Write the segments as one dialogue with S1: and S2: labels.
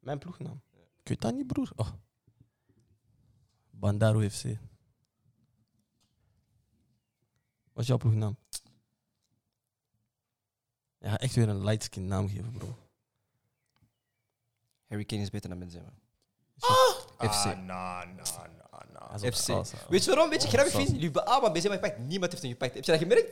S1: Mijn ploegnaam. Ik weet dat niet, broer. Oh. Bandaro FC. Wat is jouw ploegnaam? Ja, echt weer een lightskin naam geven, bro.
S2: Harry Kane is beter dan Benzema.
S1: Oh!
S2: FC.
S3: Ah, na, na, na, na.
S1: Hij is op
S2: FC.
S1: de Alsa.
S2: Weet je waarom? Weet je,
S1: Oh,
S2: grappig
S1: zat.
S2: vind? Jullie hebben allemaal Benzema gepakt. Niemand heeft hem gepakt. Heb je dat gemerkt?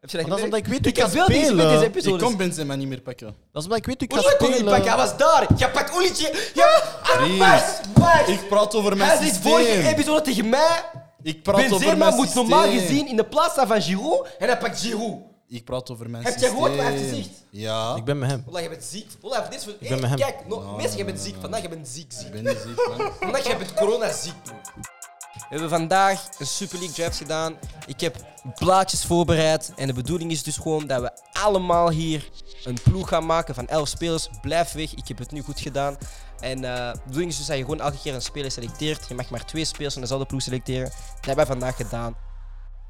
S2: Heb je dat
S1: Maar dat is
S2: gemerkt?
S1: omdat ik weet, u
S2: heb
S1: kan
S2: wel deze- deze
S1: spelen.
S2: episode
S4: Ik kon Benzema niet meer pakken.
S1: Dat is omdat ik weet, u kan
S2: Hoezo kon je niet pakken? Hij
S1: spelen.
S2: was daar. Je pakt Olietje. Ja, Arbas. Max.
S4: Ik praat over mijn
S2: Hij zei vorige
S4: systeem.
S2: episode tegen mij.
S4: Ik praat over
S2: Benzema
S4: mijn
S2: moet
S4: systeem.
S2: normaal gezien in de plaats staan van Giroud. En hij pakt Giroud.
S4: Ik praat over mijn
S2: Heb jij
S4: systeem.
S2: gehoord wat hij heeft gezegd?
S4: Ja.
S1: Ik ben met hem.
S2: Wallah, je bent ziek. Wallah, dit is voor...
S1: ben met hem.
S2: Kijk, no, mensen, je bent ziek. Vandaag, je bent ziek, ziek.
S4: Ik ben niet ziek, man.
S2: Vandaag, je bent coronaziek, bro. We hebben vandaag een Super League draft gedaan. Ik heb blaadjes voorbereid. En de bedoeling is dus gewoon dat we allemaal hier een ploeg gaan maken van 11 spelers. Blijf weg, ik heb het nu goed gedaan. En eh, de bedoeling is dus dat je gewoon elke keer een speler selecteert. Je mag maar twee spelers van dezelfde ploeg selecteren. Dat hebben we vandaag gedaan.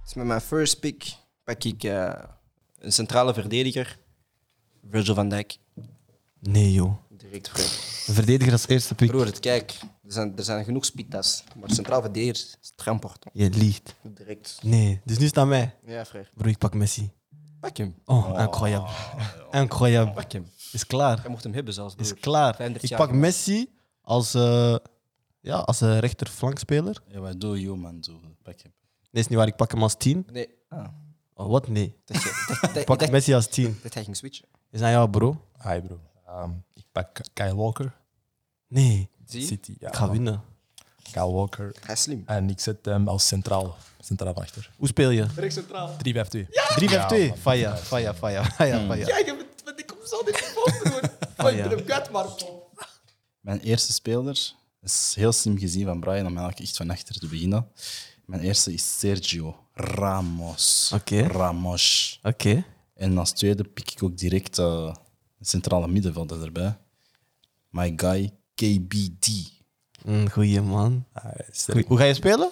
S2: Dus met mijn first pick pak ik eh, een centrale verdediger. Virgil van Dijk.
S1: Nee, joh.
S2: Direct vreemd.
S1: Een verdediger als eerste pick.
S2: Broer, het kijk, er zijn, er zijn genoeg spitas. Maar centraal verdedigers is tramport.
S1: Je liegt.
S2: Direct.
S1: Nee, dus nu staat mij.
S2: Ja, vrij.
S1: Broer, ik pak Messi.
S2: Pak hem.
S1: Oh, incroyable. Incroyable.
S2: Pak hem.
S1: Is klaar.
S2: Jij mocht hem hebben zelfs.
S1: Is
S2: Broer.
S1: klaar.
S2: 35
S1: Ik
S2: jaar
S1: pak
S2: gemaakt.
S1: Messi als, eh ja, als eh, rechterflankspeler.
S4: Ja, maar doe je, man. Doe. Pak hem.
S1: Nee, is niet waar. Ik pak hem als 10.
S2: Nee,
S1: Oh, wat? Nee.
S2: dat je- dat- dat-
S1: Ik pak
S2: dat-
S1: Messi als 10.
S2: dat hij ging switchen.
S1: Is aan jou, bro?
S3: Hi, bro. Ehm, ik pak Kyle Walker.
S1: Nee.
S2: Zie?
S3: City. Ja,
S1: Ik ga
S3: man.
S1: winnen.
S3: Kyle Walker.
S2: Hij is slim.
S3: En ik zet hem als centraal. Centraal van achter.
S1: Hoe speel je? 3-5-2.
S3: 3 5 2
S1: Faya, faya, faya, faya,
S2: Hmm.
S1: faya.
S2: Kijk, want ik kom zo dit voor, broer.
S1: ik ben hem
S2: kwijt, maar...
S4: Mijn eerste speler is heel slim gezien van Brian om eigenlijk echt van achter te beginnen. Mijn eerste is Sergio Ramos.
S1: Oké.
S4: Ramos.
S1: Oké.
S4: En als tweede pik ik ook direct eh een centrale middenvelder erbij. My guy, KBD.
S1: Mm, Goeie man.
S3: Hij is
S1: Goeie. Hoe ga je spelen?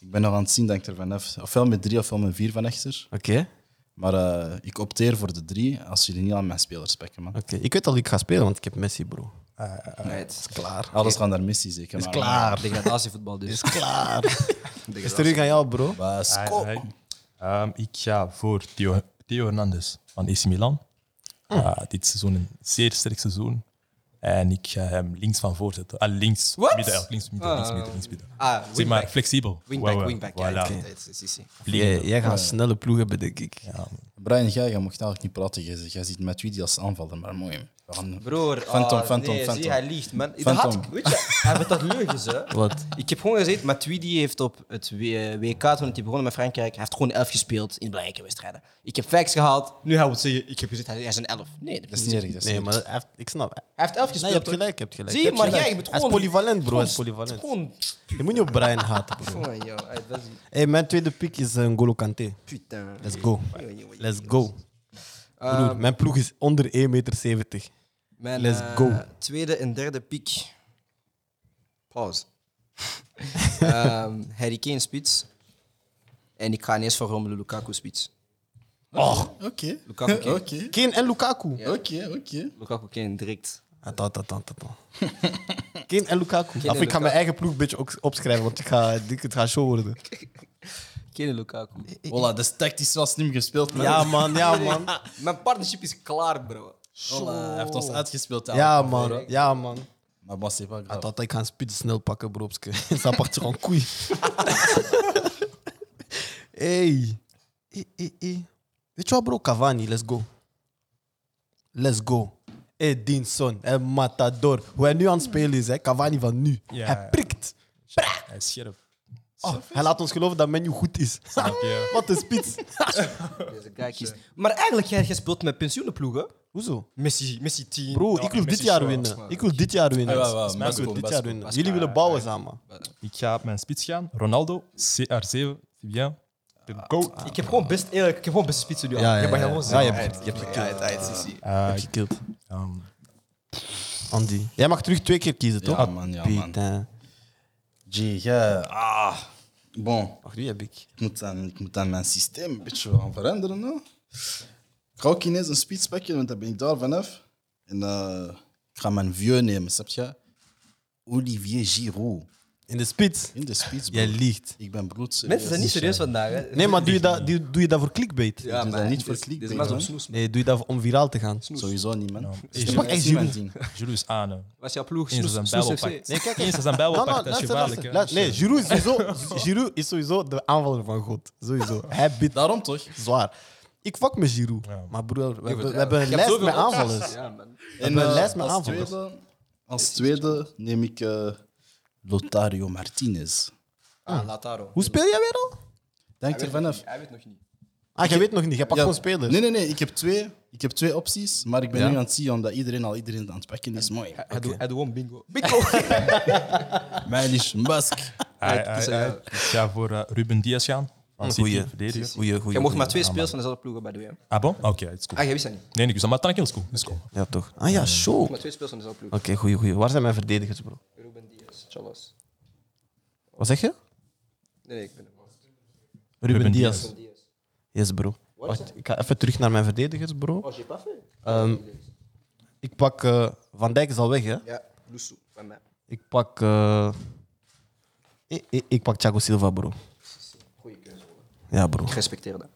S4: Ik ben nog aan het zien dat ik er vanaf, ofwel met drie ofwel met vier van achter.
S1: Oké.
S4: Maar eh, ik opteer voor de drie als jullie niet aan mijn spelers pakken, man.
S1: Oké. Ik weet al wie ik ga spelen, want ik heb Messi, bro.
S2: Nee, het is klaar.
S4: Alles gaat naar Messi zeker. Is
S2: Degradatievoetbal dus.
S1: klaar. Is terug aan jou, bro.
S4: Bas,
S3: Hi,
S4: kom.
S3: hi. Ehm, ik ga voor Theo, Theo Hernandez van AC Milan.
S2: Mm.
S3: Ah, dit seizoen een zeer sterk seizoen. En ik ga hem links van voor zetten. Ah, links.
S2: Wat?
S3: Midden, elk links midden, links midden, links midden.
S2: Ah,
S3: Zeg maar,
S2: wingback.
S3: flexibel. Wow,
S2: Wingback,
S3: wow.
S2: wingback.
S3: Voilà.
S2: Ja, ik- het is- is- is-
S1: Jij, eh, jij gaat een snelle ploeg hebben, denk ik.
S4: Brian, jij, jij mocht eigenlijk niet praten. Jij, jij ziet met wie die als aanvaller, maar mooi. We gaan-
S2: Broer,
S4: Phantom,
S2: ah,
S4: Phantom,
S2: nee,
S4: Phantom.
S2: Zie, hij liegt, man. Dat
S4: Phantom.
S2: had ik, weet je, hij vertelt leugens, hè.
S1: Wat?
S2: Ik heb gewoon gezeten, Matuidi heeft op het W- eh, WK, toen hij begon met Frankrijk, hij heeft gewoon 11 gespeeld in belangrijke wedstrijden. Ik heb facts gehaald, nu hij moet zeggen, ik heb gezegd, hij hij is een 11. Nee, dat
S4: Dat
S2: is
S4: is
S2: niet.
S4: niet erg. dat is
S1: Nee,
S4: niet
S1: maar dat- hij heeft- ik snap.
S2: Hij heeft 11
S1: Nee,
S2: gespeeld.
S1: je hebt
S2: hoor.
S1: gelijk, je hebt gelijk.
S2: Zie,
S1: je hebt
S2: maar
S1: gelijk.
S2: jij bent
S1: Hij is
S2: gewoon-
S1: polyvalent, bro. Hij is
S2: Het
S1: polyvalent.
S2: is Gewoon,
S1: Je moet niet op Brian haten, bro.
S2: oh, joh, hey, dat is-
S1: Hey, mijn Eh, tweede pick is een N'Golo Kante.
S2: putain.
S1: Let's go.
S2: Oei, oei, oei.
S1: Let's go. Broer, mijn ploeg is onder 1,70 meter.
S2: Mijn,
S1: let's
S2: eh,
S1: go.
S2: tweede en derde pick. Pause. Ehm Harry Kane spits. En ik ga ineens voor Romelu Lukaku spits.
S4: Oké.
S2: Lukaku Kane.
S4: Oké.
S1: Kane en Lukaku.
S4: Oké, oké.
S2: Lukaku Kane direct.
S1: Attends, attends, attends. Kane en Lukaku.
S2: en
S1: Of ik ga
S2: Lukaku.
S1: mijn eigen ploeg een beetje ook opschrijven, want ik ga, ik- het gaat show worden.
S2: Kane en Lukaku.
S4: Voilà, dat is tactisch wel slim gespeeld, man.
S1: Ja, man, ja, man.
S2: Mijn partnership is klaar, bro.
S4: Voilà, Hij heeft ons uitgespeeld.
S1: Ja, man. Ja, man.
S4: Maar bon, c'est pas grave.
S1: Attends, ik ga een speed snel pakken, broepske. Dat part gewoon koei. Hey. Hey, hey, hey. Weet je wat, bro? Cavani, let's go. Let's go. Edinson, en Matador. Hoe hij nu aan het spelen is, hè? Cavani van nu.
S3: Ja,
S1: Hij
S3: ja.
S1: prikt.
S3: Hij is scherp.
S1: Oh, hij laat ons geloven dat menu goed is.
S3: Snap je?
S1: Wat een spits.
S2: Deze guy kiest. Maar eigenlijk, jij jij speelt met pensioenenploegen.
S1: Hoezo?
S2: Messi, Messi 10.
S1: Bro, ik wil dit jaar winnen. Ik wil dit jaar winnen.
S4: Ah, ja, ja,
S1: Ik wil
S4: Basco,
S1: dit jaar
S4: Basco.
S1: winnen.
S2: Basco,
S1: Jullie willen
S2: ja,
S1: bouwen samen.
S3: Ik ga op mijn spits gaan. Ronaldo, CR7. C'est bien. De goat.
S2: Ik heb gewoon best eerlijk, ik heb gewoon best spits nu. al.
S1: Ja, ja,
S2: Je mag
S1: ja.
S2: gewoon
S1: Ja,
S2: zeggen.
S1: je hebt- je hebt
S2: Ja, ja,
S4: Ah.
S2: ja, ja, ja.
S3: Eh,
S1: Heb je gekild.
S3: ehm,
S1: Andy. Jij mag terug twee keer kiezen, toch?
S4: Ja, man, ja, man.
S1: Putain.
S4: Jee, jij, Ah. Bon,
S1: Ach, die heb ik.
S4: ik moet, aan, ik moet aan mijn systeem een beetje gaan veranderen. Hè? Ik ga ook ineens een spits pakken, want dan ben ik daar vanaf. En eh, Ik ga mijn vieux nemen, snap je? Olivier Giroud.
S1: In de spits.
S4: In de spits, bro.
S1: Jij liegt.
S4: Ik ben bloed.
S2: Mensen zijn niet serieus vandaag. Hè.
S1: Nee, maar doe je dat, doe, doe je dat voor clickbait?
S2: eh, Ja,
S4: doe dat
S2: maar
S4: niet voor
S2: dit-
S4: clickbait,
S2: Dit is maar zo'n
S4: hè.
S2: snoes.
S1: Nee, doe je dat om viraal te gaan?
S4: Sowieso niet, man.
S1: Je pakt echt
S4: niemand
S1: Giroud.
S4: zien.
S3: Julius Ane.
S2: Was jouw ploeg
S3: Eens
S2: snoes,
S3: als een
S2: snoes
S3: bijl
S2: FC?
S3: pakt.
S1: Nee, kijk,
S3: Eens als een bijl pakt, Oh, dat is
S1: luister,
S3: gevaarlijk.
S1: luister.
S3: hè.
S1: Luister, Nee, Giroud is, sowieso, Giroud is sowieso de aanvaller van God. Sowieso. Hij bidt
S4: Daarom toch?
S1: zwaar. Ik fuck met Giroud. Maar broer, we, hebben- we hebben een
S2: Je hebt
S1: lijst
S2: zoveel
S1: met
S2: opties.
S1: aanvallers.
S2: Ja, man.
S1: En, eh,
S4: eh,
S1: lijst met
S4: als,
S1: aanvallers.
S4: tweede, als tweede neem ik eh, Lotario Martinez.
S2: Ah, Lataro.
S1: Hoe speel jij weer al?
S4: Denk er vanaf.
S2: Hij weet nog niet.
S1: Ah, je weet nog niet. Je pakt
S4: Ja.
S1: gewoon spelers.
S4: Nee, nee, nee. Ik heb twee, ik heb twee opties, maar ik ben
S1: Ja.
S4: nu aan het zien omdat iedereen al iedereen aan het pakken is. Mooi.
S2: Hij doet hij doet gewoon bingo. Bingo!
S4: Mijn is Musk.
S3: Hij- hij- hij- Ik ga voor eh, Ruben Diaz gaan. Van City, verdediger.
S1: goeie, goeie.
S2: Je mocht maar twee speels van dezelfde ploeg bij doen. hè.
S3: Ah, bon? Oké, het is
S2: Ah,
S3: cool.
S2: jij wist dat niet. Je
S3: Nee, nee, dus dan maar tranquil, is cool. Is cool.
S1: Ja, toch. Ah ja, zo.
S2: mocht
S1: Oké,
S2: maar twee speels van dezelfde ploeg.
S1: goeie, goeie, Waar zijn mijn verdedigers, bro?
S2: Ruben Diaz, Chalas.
S1: Wat zeg je?
S2: Nee, nee, ik ben hem.
S1: Ruben,
S3: Ruben
S1: Diaz.
S3: Diaz.
S1: Yes, bro. Wacht, ik ga even terug naar mijn verdedigers, bro.
S2: Oh, j'ai pas fait?
S1: Ehm, ik pak... eh, Van Dijk is al weg, hè?
S2: Ja, Lusso, van mij.
S1: Ik pak... eh, ik, ik, ik pak Thiago Silva, bro.
S2: Goeie keuze. hoor.
S1: Ja, bro.
S2: Ik respecteer dat.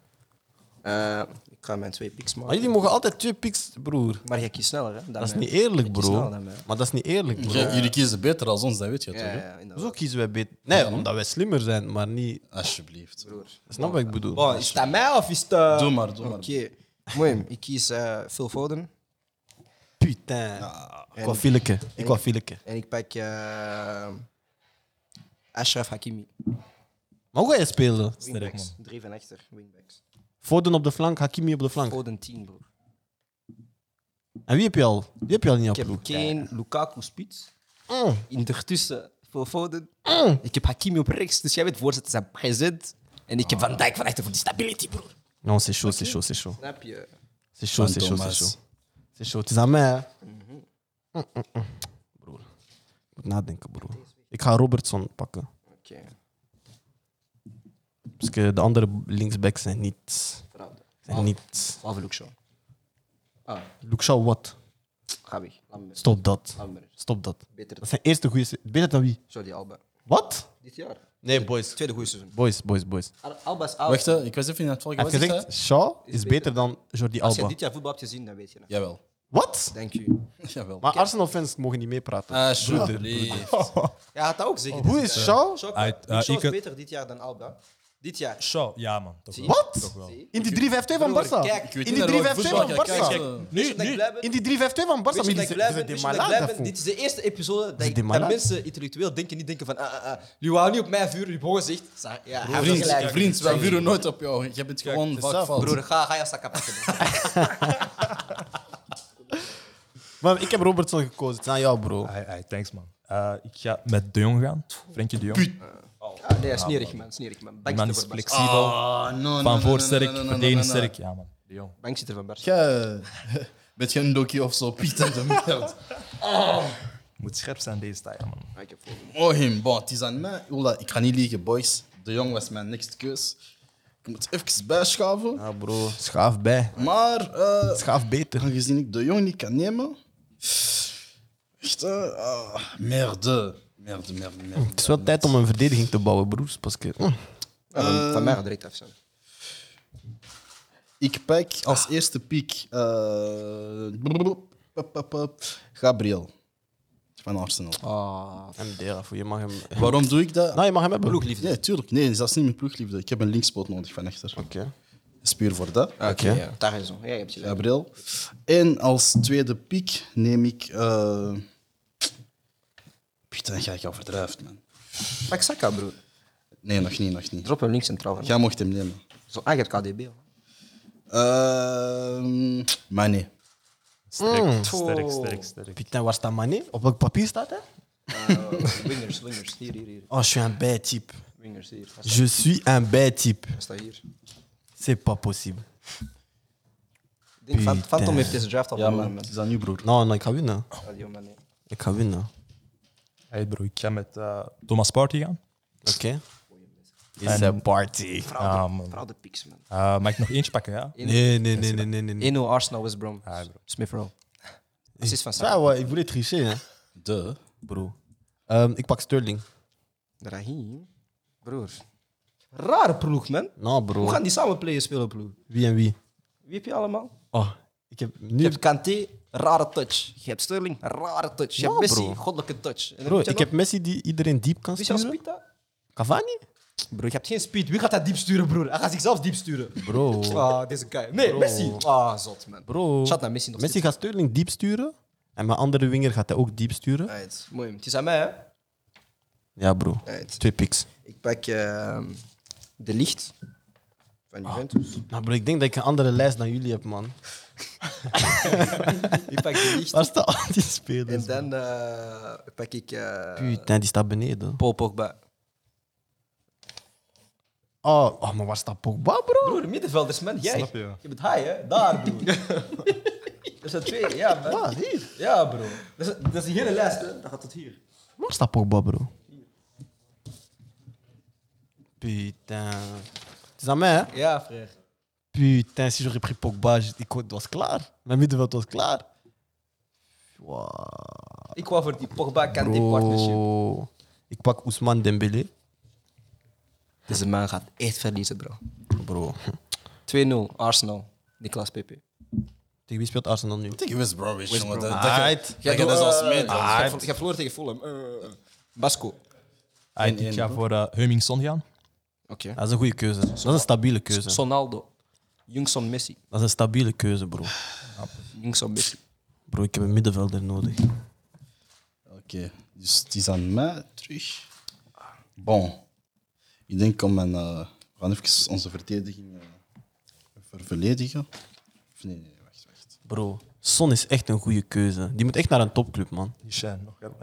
S2: Eh, ik ga mijn twee picks
S1: Maar
S2: maken.
S1: Ah, jullie mogen altijd twee picks, broer.
S2: Maar jij kiest sneller, hè? dan
S1: Dat is
S2: mij.
S1: niet eerlijk,
S2: Ik kies
S1: bro.
S2: sneller dan mij.
S1: Maar dat is niet eerlijk, bro.
S4: Jij- Jullie kiezen beter dan ons, dat weet je
S2: Ja,
S4: toch? hè?
S2: ja, ja, inderdaad.
S1: Zo kiezen wij beter. Nee, omdat wij slimmer zijn, maar niet...
S4: Alsjeblieft.
S1: Snap wat ik bedoel?
S2: Bon, is het aan mij of is het... eh,
S4: Doe maar, doe maar.
S2: Oké. Mooi, ik kies eh, Phil Foden.
S1: Putain. Ik wou Fileke. Ik wou Fileke.
S2: En ik pak... eh Ashraf Hakimi.
S1: Maar hoe ga je spelen?
S2: Wingbacks. Drie van achter, wingbacks.
S1: Foden op de flank, Hakimi op de flank.
S2: Foden 10, bro.
S1: En wie heb je al? Wie heb je al in jouw
S2: Ik heb
S1: ploeg?
S2: Kane, Lukaku, Spits.
S1: Mm.
S2: Intertussen Phil Foden. Ik heb Hakimi op rechts, dus jij weet, voorzitter zijn present. En ik heb Van Dijk van achter voor die stability, bro.
S1: Non, Nou, c'est chaud, c'est chaud, c'est chaud.
S2: Snap je?
S1: C'est chaud,
S4: Van
S1: c'est chaud, c'est
S4: Thomas.
S1: chaud. C'est chaud. Het is aan mij, hè? Mm, mm, mm. Broer. Ik moet nadenken, broer. Ik ga Robertson pakken.
S2: Oké,
S1: Parce que de andere linksbacks zijn niet...
S2: verhaal.
S1: Zijn niet...
S2: Behalve Luke Shaw. Ah,
S1: Luke Shaw, wat?
S2: ga weg. Laat me met-
S1: Stop dat.
S2: laat me met-
S1: Stop dat.
S2: Beter
S1: Dat zijn eerste goede... Beter dan wie?
S2: Jordi Alba.
S1: Wat?
S2: Dit jaar.
S1: Nee, boys.
S2: Tweede goede seizoen.
S1: Boys, boys, boys.
S2: Al- Alba is oud.
S4: Wacht, hè, ik was even in het volgende.
S1: Hij heeft gezegd, Shaw is beter dan Jordi
S2: Als je
S1: Alba.
S2: dit jaar voetbal hebt gezien, dan weet je dat.
S4: Jawel.
S1: Wat?
S2: Dank u.
S4: Jawel.
S1: Maar Arsenal-fans mogen niet meepraten.
S4: Eh, Alsjeblieft.
S2: Ja, had dat ook zeggen.
S1: Hoe is Shaw?
S2: Shaw?
S3: Hij-
S2: Luke
S3: eh,
S2: Shaw
S3: ik
S2: is
S3: het-
S2: beter dit jaar dan Alba. Dit jaar.
S3: Shaw, ja man. toch wel.
S1: Wat? In die 3-5-2 van
S2: Broer,
S1: Barça.
S2: kijk, ik
S1: In die 3-5-2 van Barça.
S2: Nu, nu.
S1: In die 3-5-2 van Barça. Maar die zijn die malade
S2: Dit
S1: voor.
S2: is de eerste episode dat,
S1: die
S2: ik, dat
S1: malade?
S2: mensen intellectueel denken, niet denken van ah, ah, ah. Jullie wou niet op mij vuren, jullie broer zegt... sa- Ja, hij heeft
S4: Vriend,
S2: gelijk.
S4: vriend, wij vuren nooit op jou. Je bent gewoon vaak
S1: zelf,
S4: fout.
S2: Broer, ga, ga je zakka pakken. man.
S1: Maar ik heb Robertson gekozen. Het is aan jou, bro.
S3: Ai, ai, thanks man. Eh, ik ga met De Jong gaan. Frenkie De Jong.
S2: Ah, nee, snerig man, snerig man.
S3: Die
S2: Bank
S3: man
S2: zitten
S3: is
S2: voor Barca.
S3: flexibel.
S4: Ah, no, no,
S3: Van
S4: no, no,
S3: voor
S4: no,
S3: sterk,
S4: no, no, no,
S3: verdedigend
S4: no, no.
S3: sterk. Ja man. De Jong.
S2: Bank zitten van Barca.
S4: Jij, Bent je een dokie of zo, Piet en de wereld.
S3: Moet scherp zijn deze tijd man.
S2: Ah, ik heb volgende.
S4: Oh, him. Bon, het is aan mij. Oela, ik ga niet liegen, boys. De jong was mijn next keus. Ik moet even bijschaven.
S1: Ja, bro. Schaaf bij.
S4: Maar, eh,
S1: Schaaf beter.
S4: aangezien ik de jong niet kan nemen. Echt, eh, ah, merde. Merde, merde, merde.
S1: Het is wel tijd om een verdediging te bouwen, broers. Parce que, hm.
S2: Ja, van- Van mij gaat direct af zijn.
S4: Ik pak als eerste piek. eh, brrr, pap, pap, pap, Gabriel. Van Arsenal.
S1: Ah. MDR, voor je mag hem...
S4: Waarom doe ik dat?
S1: Nou, je mag hem hebben.
S2: Ploegliefde.
S4: Nee, tuurlijk. Nee, zelfs niet mijn ploegliefde. Ik heb een linkspoot nodig van echter. Dat
S1: Oké.
S4: is puur voor dat.
S2: Oké,
S1: Oké.
S2: ja. daar is zo. Ja, je hebt gelijk.
S4: Gabriel. En als tweede piek neem ik. eh Putain, ga ik al verdrijven, man.
S2: Pak Saka, broer.
S4: Nee, nog niet, nog niet.
S2: Drop hem links en trouw. Ja.
S4: Jij mocht hem nemen.
S2: Zo, ah, je hebt KDB. hoor.
S4: Ehm maar nee.
S3: Sterk, sterk, sterk, sterk.
S1: Putain, waar staat Mané? Op welk papier staat hij?
S2: Eh, wingers, wingers. Hier, hier, hier.
S1: Oh, je suis un bad type.
S2: Wingers, hier. Wat
S1: Je suis un bad type.
S2: staat hier?
S1: C'est pas possible.
S2: Ik denk, Fant- Phantom heeft deze draft al
S4: Ja,
S2: gewonnen.
S4: man.
S2: man.
S4: Het is aan nu, broer.
S1: Nou, nou, ik ga winnen.
S2: Sadio Mane.
S1: Ik ga winnen.
S3: Hey bro, ik ga met eh, Thomas Party gaan.
S1: Oké. Is een party.
S3: Ah, man.
S2: Vooral de picks, man.
S3: Eh, mag ik nog eentje pakken, ja?
S1: Nee, nee, nee, nee, nee. nee, nee.
S2: Eno Arsenal, West Brom.
S3: Ah, bro.
S2: Smith Rowe. Assist van Saka.
S1: Ça, ouais, ik voulais tricher, hein.
S4: De.
S1: Bro. Ehm, ik pak Sterling.
S2: Rahim. Broer. Rare ploeg, man.
S1: Nou,
S2: Hoe
S1: bro.
S2: gaan die samen playen spelen, ploeg?
S1: Wie en wie?
S2: Wie heb je allemaal?
S1: Oh, ik heb nu...
S2: Je hebt Kanté, rare touch. Je hebt Sterling, rare touch. Je
S1: Ja,
S2: hebt Messi,
S1: bro.
S2: goddelijke touch. En dan
S1: Bro,
S2: moet je
S1: ik
S2: nog-
S1: heb Messi die iedereen diep kan
S2: Wie zou
S1: sturen.
S2: speed dat?
S1: Cavani?
S2: Bro, je hebt geen speed. Wie gaat dat diep sturen, broer? Hij gaat zichzelf diep sturen.
S1: Bro.
S2: Ah, deze guy. Nee, Messi. Ah, zot, man.
S1: Bro.
S2: Chat naar Messi nog
S1: Messi gaat Sterling diep sturen. En mijn andere winger gaat hij ook diep sturen.
S2: steeds. Right, Mooi. Het is aan mij, hè?
S1: Ja, bro.
S2: Right.
S1: Twee picks.
S2: Ik pak ehm, De Licht van Juventus.
S1: Nou, bro, ik denk dat ik een andere lijst dan jullie heb, man.
S2: Ik pak De Licht.
S1: Waar staan al die
S2: En
S1: spelers?
S2: dan eh, pak ik eh,
S1: Putain, die staat beneden.
S2: Paul Pogba.
S1: Oh, oh maar waar staat Pogba, bro?
S2: Broer, middenvelders, man. Jij.
S3: Snap je?
S2: je bent high, hè? Daar, broer. Er zijn twee, ja, man.
S1: Ah, hier.
S2: Ja, bro. Dat is, dat is die hele lijst, hè? Dat gaat tot hier.
S1: Waar staat Pogba, bro? Putain. Het is aan mij, hè?
S2: Ja, frère.
S1: Putain, si j'aurais pris Pogba, j- ik het was klaar. Mijn middenveld was klaar. Wow.
S2: Ik wou voor die Pogba Kanté partnership.
S1: Bro. Ik pak Ousmane Dembélé.
S2: Deze Dus man gaat echt verliezen, bro.
S1: Bro.
S2: 2-0, Arsenal. Nicolas Pepe.
S1: Tegen wie speelt Arsenal nu?
S4: Tegen West Ah, Bromwich, jongen.
S1: Brom.
S4: Dat- dat-
S1: Aight.
S4: dat- dat is
S2: eh,
S4: als mee. dat is-
S2: Ik heb verloren tegen Fulham. Eh, eh, eh. Basco.
S3: Ah, ik- ik ga voor eh Heumingson gaan.
S2: Oké.
S1: Dat is een goede keuze. Dat is een stabiele keuze.
S2: Sonaldo. Jungson Messi.
S1: Dat is een stabiele keuze, bro.
S2: Jungson Messi.
S1: Bro, ik heb een middenvelder nodig.
S4: Oké, dus het is aan mij terug. Bon. Ik denk om mijn. eh, we gaan even onze verdediging eh, ver- verledigen. Of nee, nee, wacht, wacht.
S1: Bro, Son is echt een goede keuze. Die moet echt naar een topclub, man.
S3: Hij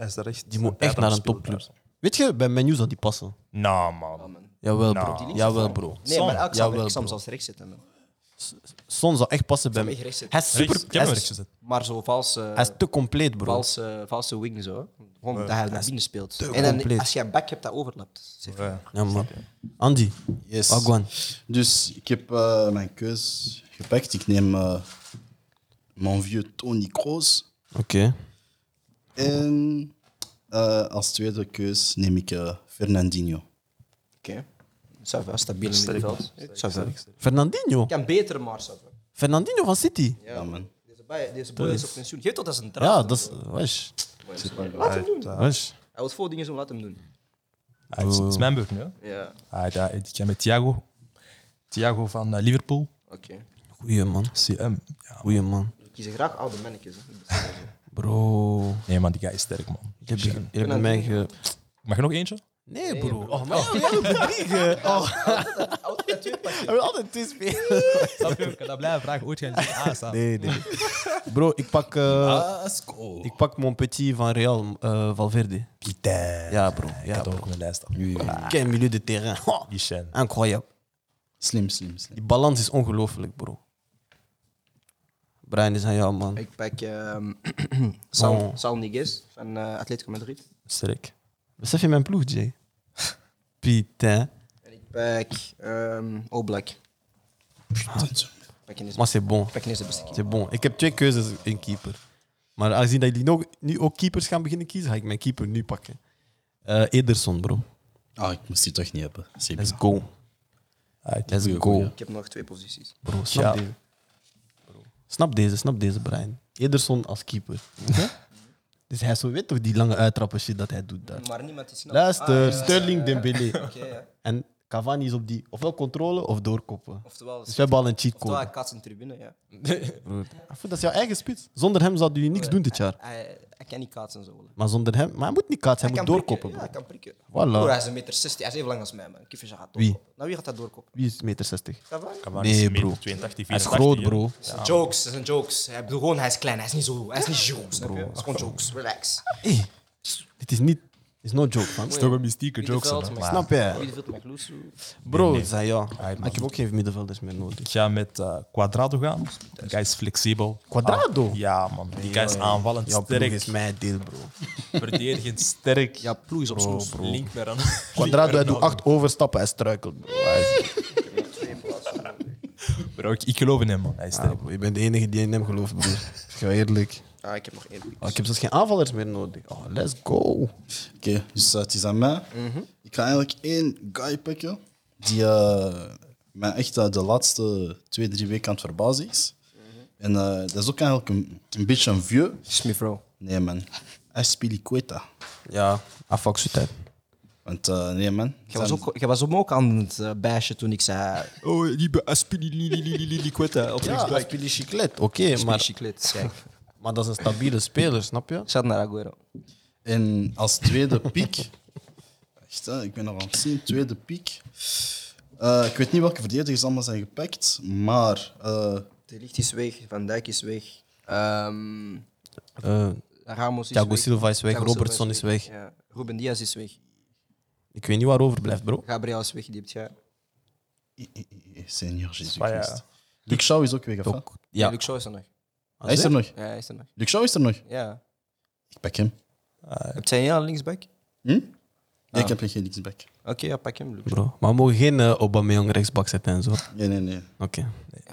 S3: is daar echt.
S1: Die moet echt naar een topclub. Weet je, bij menu zou die passen.
S3: Nou, man.
S1: Jawel,
S3: Nou.
S1: bro.
S3: Die
S1: Jawel, bro.
S2: Nee,
S3: Son.
S2: maar elk zou
S1: Jawel,
S2: ik zou hem
S1: bro.
S2: zelfs rechts zetten. man.
S1: Son zou echt passen bij
S2: hem
S1: me.
S2: echt rechts
S1: Hij is
S3: Rechts.
S1: super...
S3: Ik heb hem
S1: Hij
S3: rechts
S1: is,
S3: gezet.
S2: Maar zo valse,
S1: hij is te compleet, bro.
S2: valse, valse wing zo. Gewoon dat hij naar binnen speelt. En
S1: compleet.
S2: dan, als je een back hebt, dat overlapt. Zeg.
S3: Eh, ah,
S1: Ja, man. Andy,
S4: Yes.
S1: Agwan.
S4: Dus ik heb eh, mijn keus gepakt. Ik neem eh, mijn vieux Tony Kroos.
S1: Oké.
S4: En eh, als tweede keus neem ik eh, Fernandinho.
S2: Oké. Ça va, stabiel in middenveld. Ça va.
S1: Fernandinho.
S2: Kan beter, maar ça va.
S1: Fernandinho van City.
S4: Ja, man.
S2: Deze boy, deze boy is op pensioen. Geef tot als een draad.
S1: Ja, dat is... Wesh.
S2: Laat hem doen.
S1: Wesh.
S2: Hij wil voor dingen zo, laat hem doen.
S3: Ah, het is- het is mijn beurt nu. hè.
S2: Ja,
S3: Ah, daar- ik ga met Thiago. Thiago van eh, Liverpool.
S2: oké.
S1: Goeie man.
S3: CM. Ja.
S1: Goeie man.
S2: Ik kies graag oude mannetjes. hè.
S1: Bro.
S3: Nee, man, die guy is sterk, man.
S1: Je hebt, je hebt mij ge...
S3: Mag je nog eentje?
S1: Nee, bro. Oh, maar ja, we gaan bedriegen. Oh. We hebben altijd twee spelen.
S3: Snap je? Ik kan dat blijven vragen. Ooit gaan jullie
S1: Nee, nee. Bro, ik pak... eh
S4: Asco.
S1: ik pak mon petit van Real, eh Valverde.
S3: Pieter.
S1: Ja, bro.
S3: Ik
S1: Ja,
S3: had
S1: bro. Ah.
S3: ook mijn lijst af.
S1: Quel milieu de terrain. Ha.
S3: Die Shen.
S1: Incroyable.
S4: Slim, slim, slim.
S1: Die balans is ongelooflijk, bro. Brian is aan jou, man.
S2: Ik pak ehm Sal,
S1: Oh.
S2: Sal Niguez van eh, Atletico Madrid.
S3: Sterk.
S1: Besef je mijn ploeg, Jay? Putain.
S2: En ik pak ehm Oblak. Ik pak ineens-
S1: Maar c'est bon.
S2: ik pak ineens de beste keeper.
S1: C'est bon. Ik heb twee keuzes in keeper. Maar aangezien dat jullie nog, nu ook keepers gaan beginnen kiezen, ga ik mijn keeper nu pakken. Eh, Ederson, bro.
S4: Ah, ik moest die toch niet hebben. Zeker.
S1: Let's go. Let's go.
S2: Ik heb nog twee posities.
S1: Bro, snap
S3: Ja.
S1: deze. Snap deze, snap deze, Brian. Ederson als keeper. Oké? dus hij zo weet toch die lange uittrappen shit dat hij doet daar.
S2: Maar niemand is snel.
S1: Luister,
S2: Mm. Ah, ja.
S1: Sterling Dembélé.
S2: Oké, ja.
S1: En Cavani is op die ofwel controle of doorkoppen.
S2: Oftewel,
S1: Dus we hebben al een
S2: oftewel
S1: cheatcode.
S2: hij kaatst in de tribune, ja.
S1: Dat is jouw eigen spits. Zonder hem zouden jullie niks doen dit jaar.
S2: Hij, hij kan niet kaatsen zo. Hij,
S1: Maar zonder hem... Maar hij moet niet kaatsen, hij,
S2: kan
S1: moet doorkoppen.
S2: prikken, Ja,
S1: bro.
S2: hij kan prikken.
S1: Voilà.
S2: Broer, hij is een meter 60, hij is even lang als mij, man. Kiffers gaat
S1: Wie?
S2: doorkoppen. Nou, wie gaat dat doorkoppen?
S1: Wie is meter 60?
S2: Dat waar?
S1: Nee, bro. Hij is groot, bro.
S2: Dat zijn jokes, dat zijn jokes. Hij bedoelt gewoon, hij is klein, hij is niet zo, hij is niet jokes, snap je? Het is gewoon jokes, relax.
S1: Hey, dit is niet... Dit is no joke, man.
S3: is toch een mystieke joke.
S2: Middenveld,
S3: zeg maar.
S2: maar-
S1: Snap je?
S2: Middenveld met Loesu.
S1: Bro, zei ja. Maar ik heb ook geen middenvelders meer nodig.
S3: Ik ga met eh, Quadrado gaan. Die guy is flexibel.
S1: Quadrado?
S3: Ah, ja, man. Die guy is aanvallend
S1: Jouw ploeg
S3: sterk.
S1: is mijn deel, bro.
S3: Verdedigend sterk.
S2: Ja, ploe is op
S3: Bro,
S2: snoes.
S3: bro. Link naar een.
S1: Quadrado, hij doet acht overstappen, hij struikelt, bro. Hij is-
S3: Bro, ik, ik geloof in hem, man. Hij is
S1: Ja,
S3: sterk.
S1: bro, je bent de enige die in hem gelooft, bro. Ik ga eerlijk.
S2: Ah, ik heb nog één pick.
S1: Oh, ik heb zelfs geen aanvallers meer nodig. Oh, let's go.
S4: Oké, dus eh, het is aan mij.
S2: Mhm.
S4: Ik ga eigenlijk één guy pakken die eh, mij echt eh, de laatste twee, drie weken aan het verbazen is.
S2: Mhm.
S4: En eh, dat is ook eigenlijk een, een beetje een vieux.
S2: Smith Rowe.
S4: Nee, man. Aspilicueta.
S1: Ja, afak tijd.
S4: Want eh, nee, man.
S2: Jij was, ook, jij was hem ook aan het eh, bashen toen ik zei...
S3: Oh, die Aspilicueta op
S1: Ja, Aspilicueta, oké,
S2: Maar...
S1: maar,
S2: Chiclet. Kijk,
S1: maar dat is een stabiele speler, snap je?
S2: shout naar Aguero.
S4: En als tweede piek. Echt, hè, ik ben nog aan het zien. Tweede piek. Eh, ik weet niet welke verdedigers allemaal zijn gepakt, maar. eh,
S2: De licht is weg, Van Dijk is weg. ehm,
S1: Eh,
S2: Ramos is
S1: Thiago
S2: weg.
S1: Silva is weg,
S2: Thiago
S1: Robertson
S2: Silva
S1: is
S2: Ja. Ruben Diaz is weg.
S1: ik weet niet waar overblijft, bro.
S2: Gabriel is weg, die hebt jij.
S4: i- i- i- Senior Jezus
S3: Maar ja.
S4: Christus. Luke Shaw is ook weg, af. hè?
S1: Ook- Ja,
S2: Luke Shaw is er nog.
S4: Hij is er nog.
S2: Ja, hij is er nog.
S4: Luke Shaw is er nog.
S2: Ja.
S4: Ik pak hem.
S2: Heb jij een linksback?
S4: Hm? Nee, ik heb geen linksback.
S2: Oké, ja, pak hem, Luke.
S1: bro. Maar we mogen geen eh, Aubameyang rechtsbak zetten en zo. Oké.
S4: Nee, nee, nee.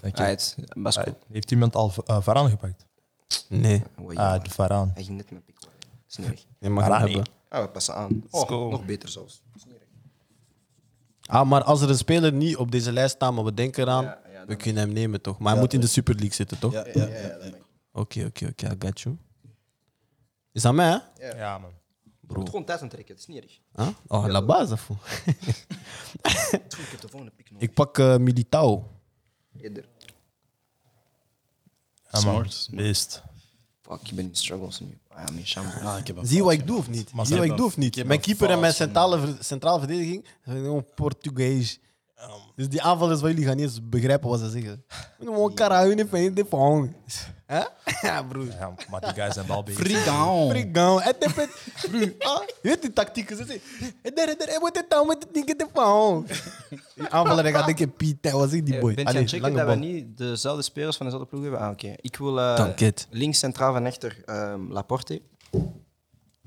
S2: Right, Basco.
S3: Heeft iemand al eh, Varaan gepakt?
S1: Nee,
S2: Oei,
S3: Ah, de Varaan.
S2: Hij ging net met pick. worden. Is niet erg.
S1: je mag
S3: Maar
S1: hem
S3: dat
S1: hebben.
S2: Ah, we passen aan. Oh,
S3: go.
S2: nog beter zelfs. Is niet erg.
S1: Ah, maar als er een speler niet op deze lijst staat, maar we denken eraan,
S2: Ja, ja, dan-
S1: we kunnen hem nemen, toch? Maar hij moet in de Super League zitten, toch?
S4: Ja, ja, ja. ja.
S1: Oké, oké, oké, I got you. Is dat mij, hè?
S3: Ja, man.
S2: Je moet gewoon tijd aantrekken, het is niet erg.
S1: Huh? Oh, la base, fool.
S2: Goed, Ik heb de volgende pick nodig.
S1: Ik pak eh, Militao.
S2: Eerder.
S4: Smart.
S3: Beest.
S2: Fuck, ik ben in struggles nu. Ah, mijn chambre.
S4: Ah, ik heb een
S1: Zie je wat ik doe of niet?
S3: Maar
S1: Zie je wat ik
S3: ze
S1: doe of niet? Mijn keeper en mijn centrale, ver- centrale verdediging zijn gewoon Portugees. Dus die aanvallers van jullie gaan niet eens begrijpen wat ze zeggen. Gewoon Karahun van de Pong. Hè? Ja, broer.
S3: Ja, maar die guys zijn wel bezig.
S4: Frigao.
S1: Frigão. Het is het. Broer. Ah, je weet die tactieken. Ze zeggen. "Eh, daar, daar, eh, moet het dan, moet het niet, de Pong. Die aanvaller gaat denken: Piet, hè, wat is die boy?
S2: É, Ben je aan
S1: Allee,
S2: het checken
S1: lange
S2: Eh, dat we
S1: bal.
S2: niet dezelfde spelers van dezelfde ploeg hebben? Ah, oké. Ik wil eh,
S1: Dank het.
S2: links centraal van echter ehm, Laporte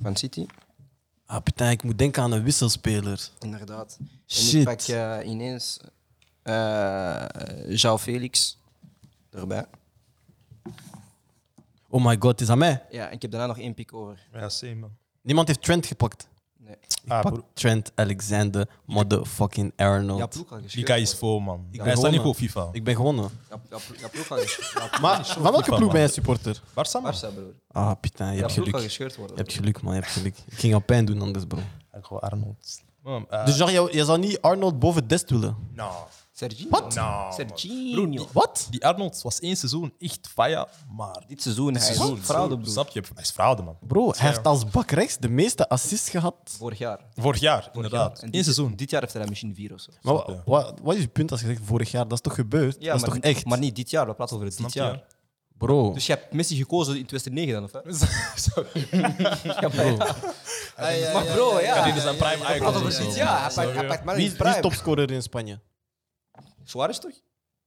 S2: van City.
S1: Ah, putain, ik moet denken aan een wisselspeler.
S2: Inderdaad. En
S1: Shit.
S2: ik pak eh, ineens eh João Felix erbij.
S1: Oh my god, het is aan mij.
S2: Ja, ik heb daarna nog één pick over.
S3: Ja, same, man.
S1: Niemand heeft Trent gepakt.
S2: Nee.
S3: Ah,
S1: Pak
S3: broer,
S1: Trent Alexander motherfucking
S2: Ja,
S1: Arnold.
S2: ploeg al
S3: die
S2: geschreven.
S3: guy is vol, man.
S1: ben
S3: Hij staat
S1: gewonnen.
S3: niet goed op FIFA.
S1: Ik ben gewonnen.
S2: Ja, ja, plo- ja, ploeg al gescheurd.
S1: Maar van welke ploeg ben jij supporter?
S3: Barca, man.
S2: Barca, broer.
S1: Ah, Pita, je
S2: Ja,
S1: hebt
S2: ploeg al
S1: geluk.
S2: gescheurd worden.
S1: Je hebt geluk, man. Je hebt geluk. Ik ging al pijn doen anders, bro.
S3: Gewoon Arnold. Man, eh,
S1: Dus Jean, jij- jij zou niet Arnold boven Dest willen?
S3: nou,
S2: Serginho.
S3: Wat? Nou, man. Broer,
S2: Serginho.
S3: die-
S1: Wat?
S3: Die Arnold was één seizoen echt faya, maar dit
S2: Dit seizoen, hij is
S3: seizoen...
S2: fraude,
S3: broer,
S2: broer.
S3: Snap je? Hij is fraude, man.
S1: Bro, hij heeft als bak rechts de meeste assists gehad.
S2: Vorig jaar.
S3: Vorig jaar,
S2: Vorig
S3: inderdaad.
S2: jaar.
S3: Eén
S2: dit,
S3: seizoen.
S2: Dit jaar heeft hij daar misschien vier of zo.
S1: Maar wa- wa- wat is je punt als je zegt vorig jaar? Dat is toch gebeurd? dat is
S2: maar,
S1: toch echt?
S2: Maar niet dit jaar, we praten over dit
S3: je?
S2: jaar.
S1: Bro,
S2: Dus je hebt Messi gekozen in 2009 dan, of hè? maar bro, ja.
S3: Dit is een prime
S2: Hij praat
S3: icon.
S2: over dit jaar. Hij pakt- Hij pakt maar
S1: wie
S2: niet
S1: is, wie is
S2: prime.
S1: topscorer in Spanje?
S2: Suarez toch?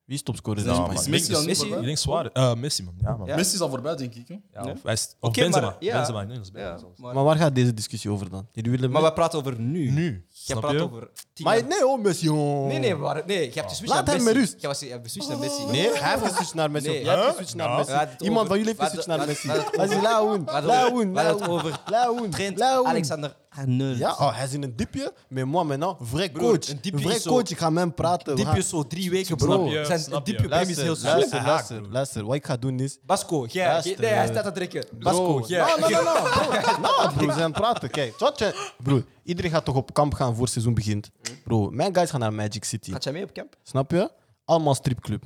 S1: Wie is topscorer in
S3: Nou,
S1: Spanje?
S3: man,
S4: Messi
S3: ik denk
S4: al
S3: dus-
S4: voorbij?
S3: Ik denk Suarez. Eh, Messi, man. Ja, man.
S2: Ja.
S4: Messi is al voorbij, denk ik. Hè?
S3: Ja, of hij is- of
S2: Oké,
S3: Benzema.
S2: maar- ja.
S3: Benzema, ik denk dat is Benzema. zelfs.
S2: Maar,
S1: Maar waar gaat deze discussie over dan? Jullie willen
S2: maar we praten over nu.
S3: Nu,
S2: Je
S3: snap
S2: praat
S3: je?
S2: over tien
S1: Maar
S2: jaar-
S1: nee, oh, Messi. oh.
S2: Nee, nee, maar, nee, je hebt geswitcht
S1: Laat
S2: naar
S1: hem
S2: Messi.
S1: met rust.
S2: Je was- Je hebt geswitcht naar Messi.
S1: Nee, hij heeft geswitcht naar Messi.
S2: Nee.
S1: Jij hebt
S3: Huh?
S1: geswitcht naar
S3: Ja.
S1: Messi.
S2: We hadden het
S1: Iemand
S2: over-
S1: van jullie heeft
S2: we hadden-
S1: geswitcht naar Messi.
S2: we hadden het
S1: Laat ze laoen,
S2: We hadden het
S1: laoen,
S2: over- we hadden het
S1: laoen,
S2: over
S1: laoen,
S2: Trent
S1: laoen.
S2: Alexander Arnold.
S1: Ja, oh, hij is in een diepje, maar moi maintenant, vrij
S2: Broer,
S1: coach.
S2: een
S1: Een
S2: diepje
S1: vrij
S2: is zo-
S1: coach, ik ga met hem praten. We
S2: Diepje
S1: gaan-
S2: is zo drie weken,
S1: Snap
S2: bro.
S3: je,
S2: Zijn
S3: snap
S2: diepje
S3: je.
S2: probleem is heel snel.
S1: Luister, luister, luister. Wat ik ga doen is...
S2: Basco, jij.
S1: Luister.
S2: Nee, hij staat aan het trekken. Basco,
S1: Bro,
S2: jij.
S1: no, no, no, no, bro. No, bro, Nou, we zijn aan het praten. Kijk, wat je- Bro, iedereen gaat toch op kamp gaan voor het seizoen begint. Bro, mijn guys gaan naar Magic City.
S2: Gaat jij mee op camp?
S1: Snap je? Allemaal stripclub.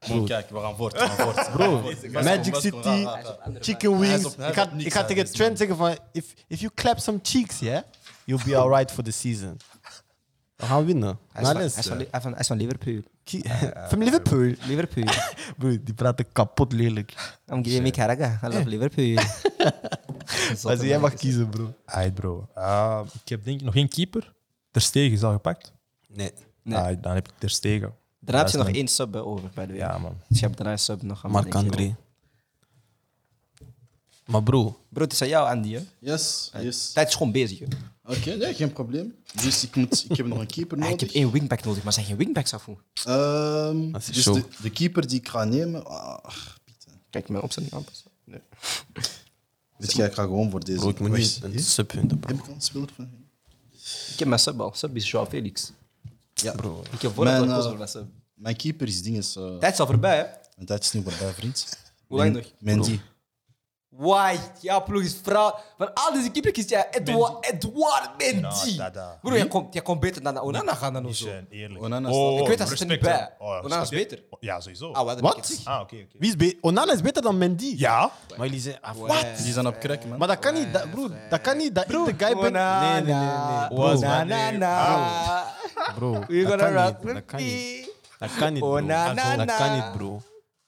S4: Bro, kijk, we gaan voort. We gaan voort.
S1: Bro,
S4: Basco,
S1: Magic
S4: Basco,
S2: Ah,
S1: City,
S4: ja, ja.
S1: Chicken
S4: Hij
S1: Wings.
S4: is op- hij is
S1: ik ga,
S4: op niks,
S1: ik ga
S4: hij
S1: tegen
S4: is
S1: Trent zeggen van, if, if you clap some cheeks, yeah, you'll be alright for the season. We gaan winnen.
S2: Hij is
S1: Na
S2: van- hij
S1: les.
S2: is van- hij is van- hij is van Liverpool.
S1: uh, Ki- Van Liverpool.
S2: Liverpool.
S1: Bro, die praten kapot lelijk.
S2: I'm giving me Caraga. I love Liverpool.
S1: Als jij mag kiezen, bro.
S3: Aight, bro. Ah, ik heb denk ik nog geen keeper. Ter Stegen is al gepakt.
S1: Nee.
S2: Nee.
S3: Ah, dan heb ik Ter Stegen.
S2: Daarna heb
S3: Dat
S2: je
S3: is
S2: nog
S3: mijn-
S2: één sub eh, over, by the way.
S3: Ja, man.
S2: Dus je hebt daarna een sub nog aan
S1: Mark
S2: denken.
S1: André. Maar bro,
S2: Bro, het is aan jou, Andy. Hè?
S4: Yes, yes.
S2: Tijd is gewoon bezig. Hè?
S4: Oké, nee, geen probleem. Dus ik, moet, ik heb nog een keeper
S2: Ah, ik heb
S4: nodig.
S1: dus-
S2: één wingback nodig, maar zijn geen wingbacks af. hoe?
S4: Ehm,
S1: Dat is
S4: dus
S1: show.
S4: de, de keeper die ik ga nemen. Ah, Pieter.
S2: Kijk, mijn opstelling aanpassen.
S4: Weet je, ik ga gewoon voor deze.
S5: Bro, ik moet nu
S4: Wacht,
S5: een
S4: hier.
S5: sub vinden, bro.
S4: Heb ik al een speler van hem?
S2: Ik heb mijn sub al. Sub is Joao Felix.
S4: Ja,
S5: Bro,
S2: Ik heb
S4: Mijn,
S2: vooral
S4: eh,
S2: gekozen voor mijn sub.
S4: Mijn keeper is dinges. eh
S2: Tijd is al voorbij, hè?
S4: mijn tijd is niet voorbij, vriend.
S2: Hoe lang
S4: Men-
S2: nog?
S4: Mendy.
S2: Why? Ja, ploeg is vrouw. Van al deze keeper kies jij Edouard, Edouard Mendy.
S6: Nou, dada.
S2: Broer, jij komt, jij komt beter dan naar Onana gaan dan of zo.
S6: zijn eerlijk.
S4: Onana
S6: Oh,
S4: staat-
S6: oh,
S2: Ik weet dat ze er niet
S6: respect,
S2: bij.
S6: hè. Oh,
S2: Onana is
S6: snap je?
S2: beter.
S6: Ja, sowieso.
S2: Ah, wat?
S1: Wat?
S6: Ah, oké, oké.
S1: Wie is be- Onana is beter dan Mendy.
S6: Ja?
S1: Maar jullie zijn... Ah,
S2: Wat?
S1: wat?
S4: Die zijn op krek, man.
S1: Maar dat kan niet, dat, broer. Dat kan niet dat ik de guy ben... Nee, nee, nee. nee. Bro,
S2: Onana.
S1: bro,
S2: We're
S1: dat
S2: gonna
S1: kan
S2: rock
S1: niet.
S2: with
S1: Dat kan niet.
S2: me.
S1: Dat kan niet, bro.
S2: Onana.
S1: Dat kan niet, bro.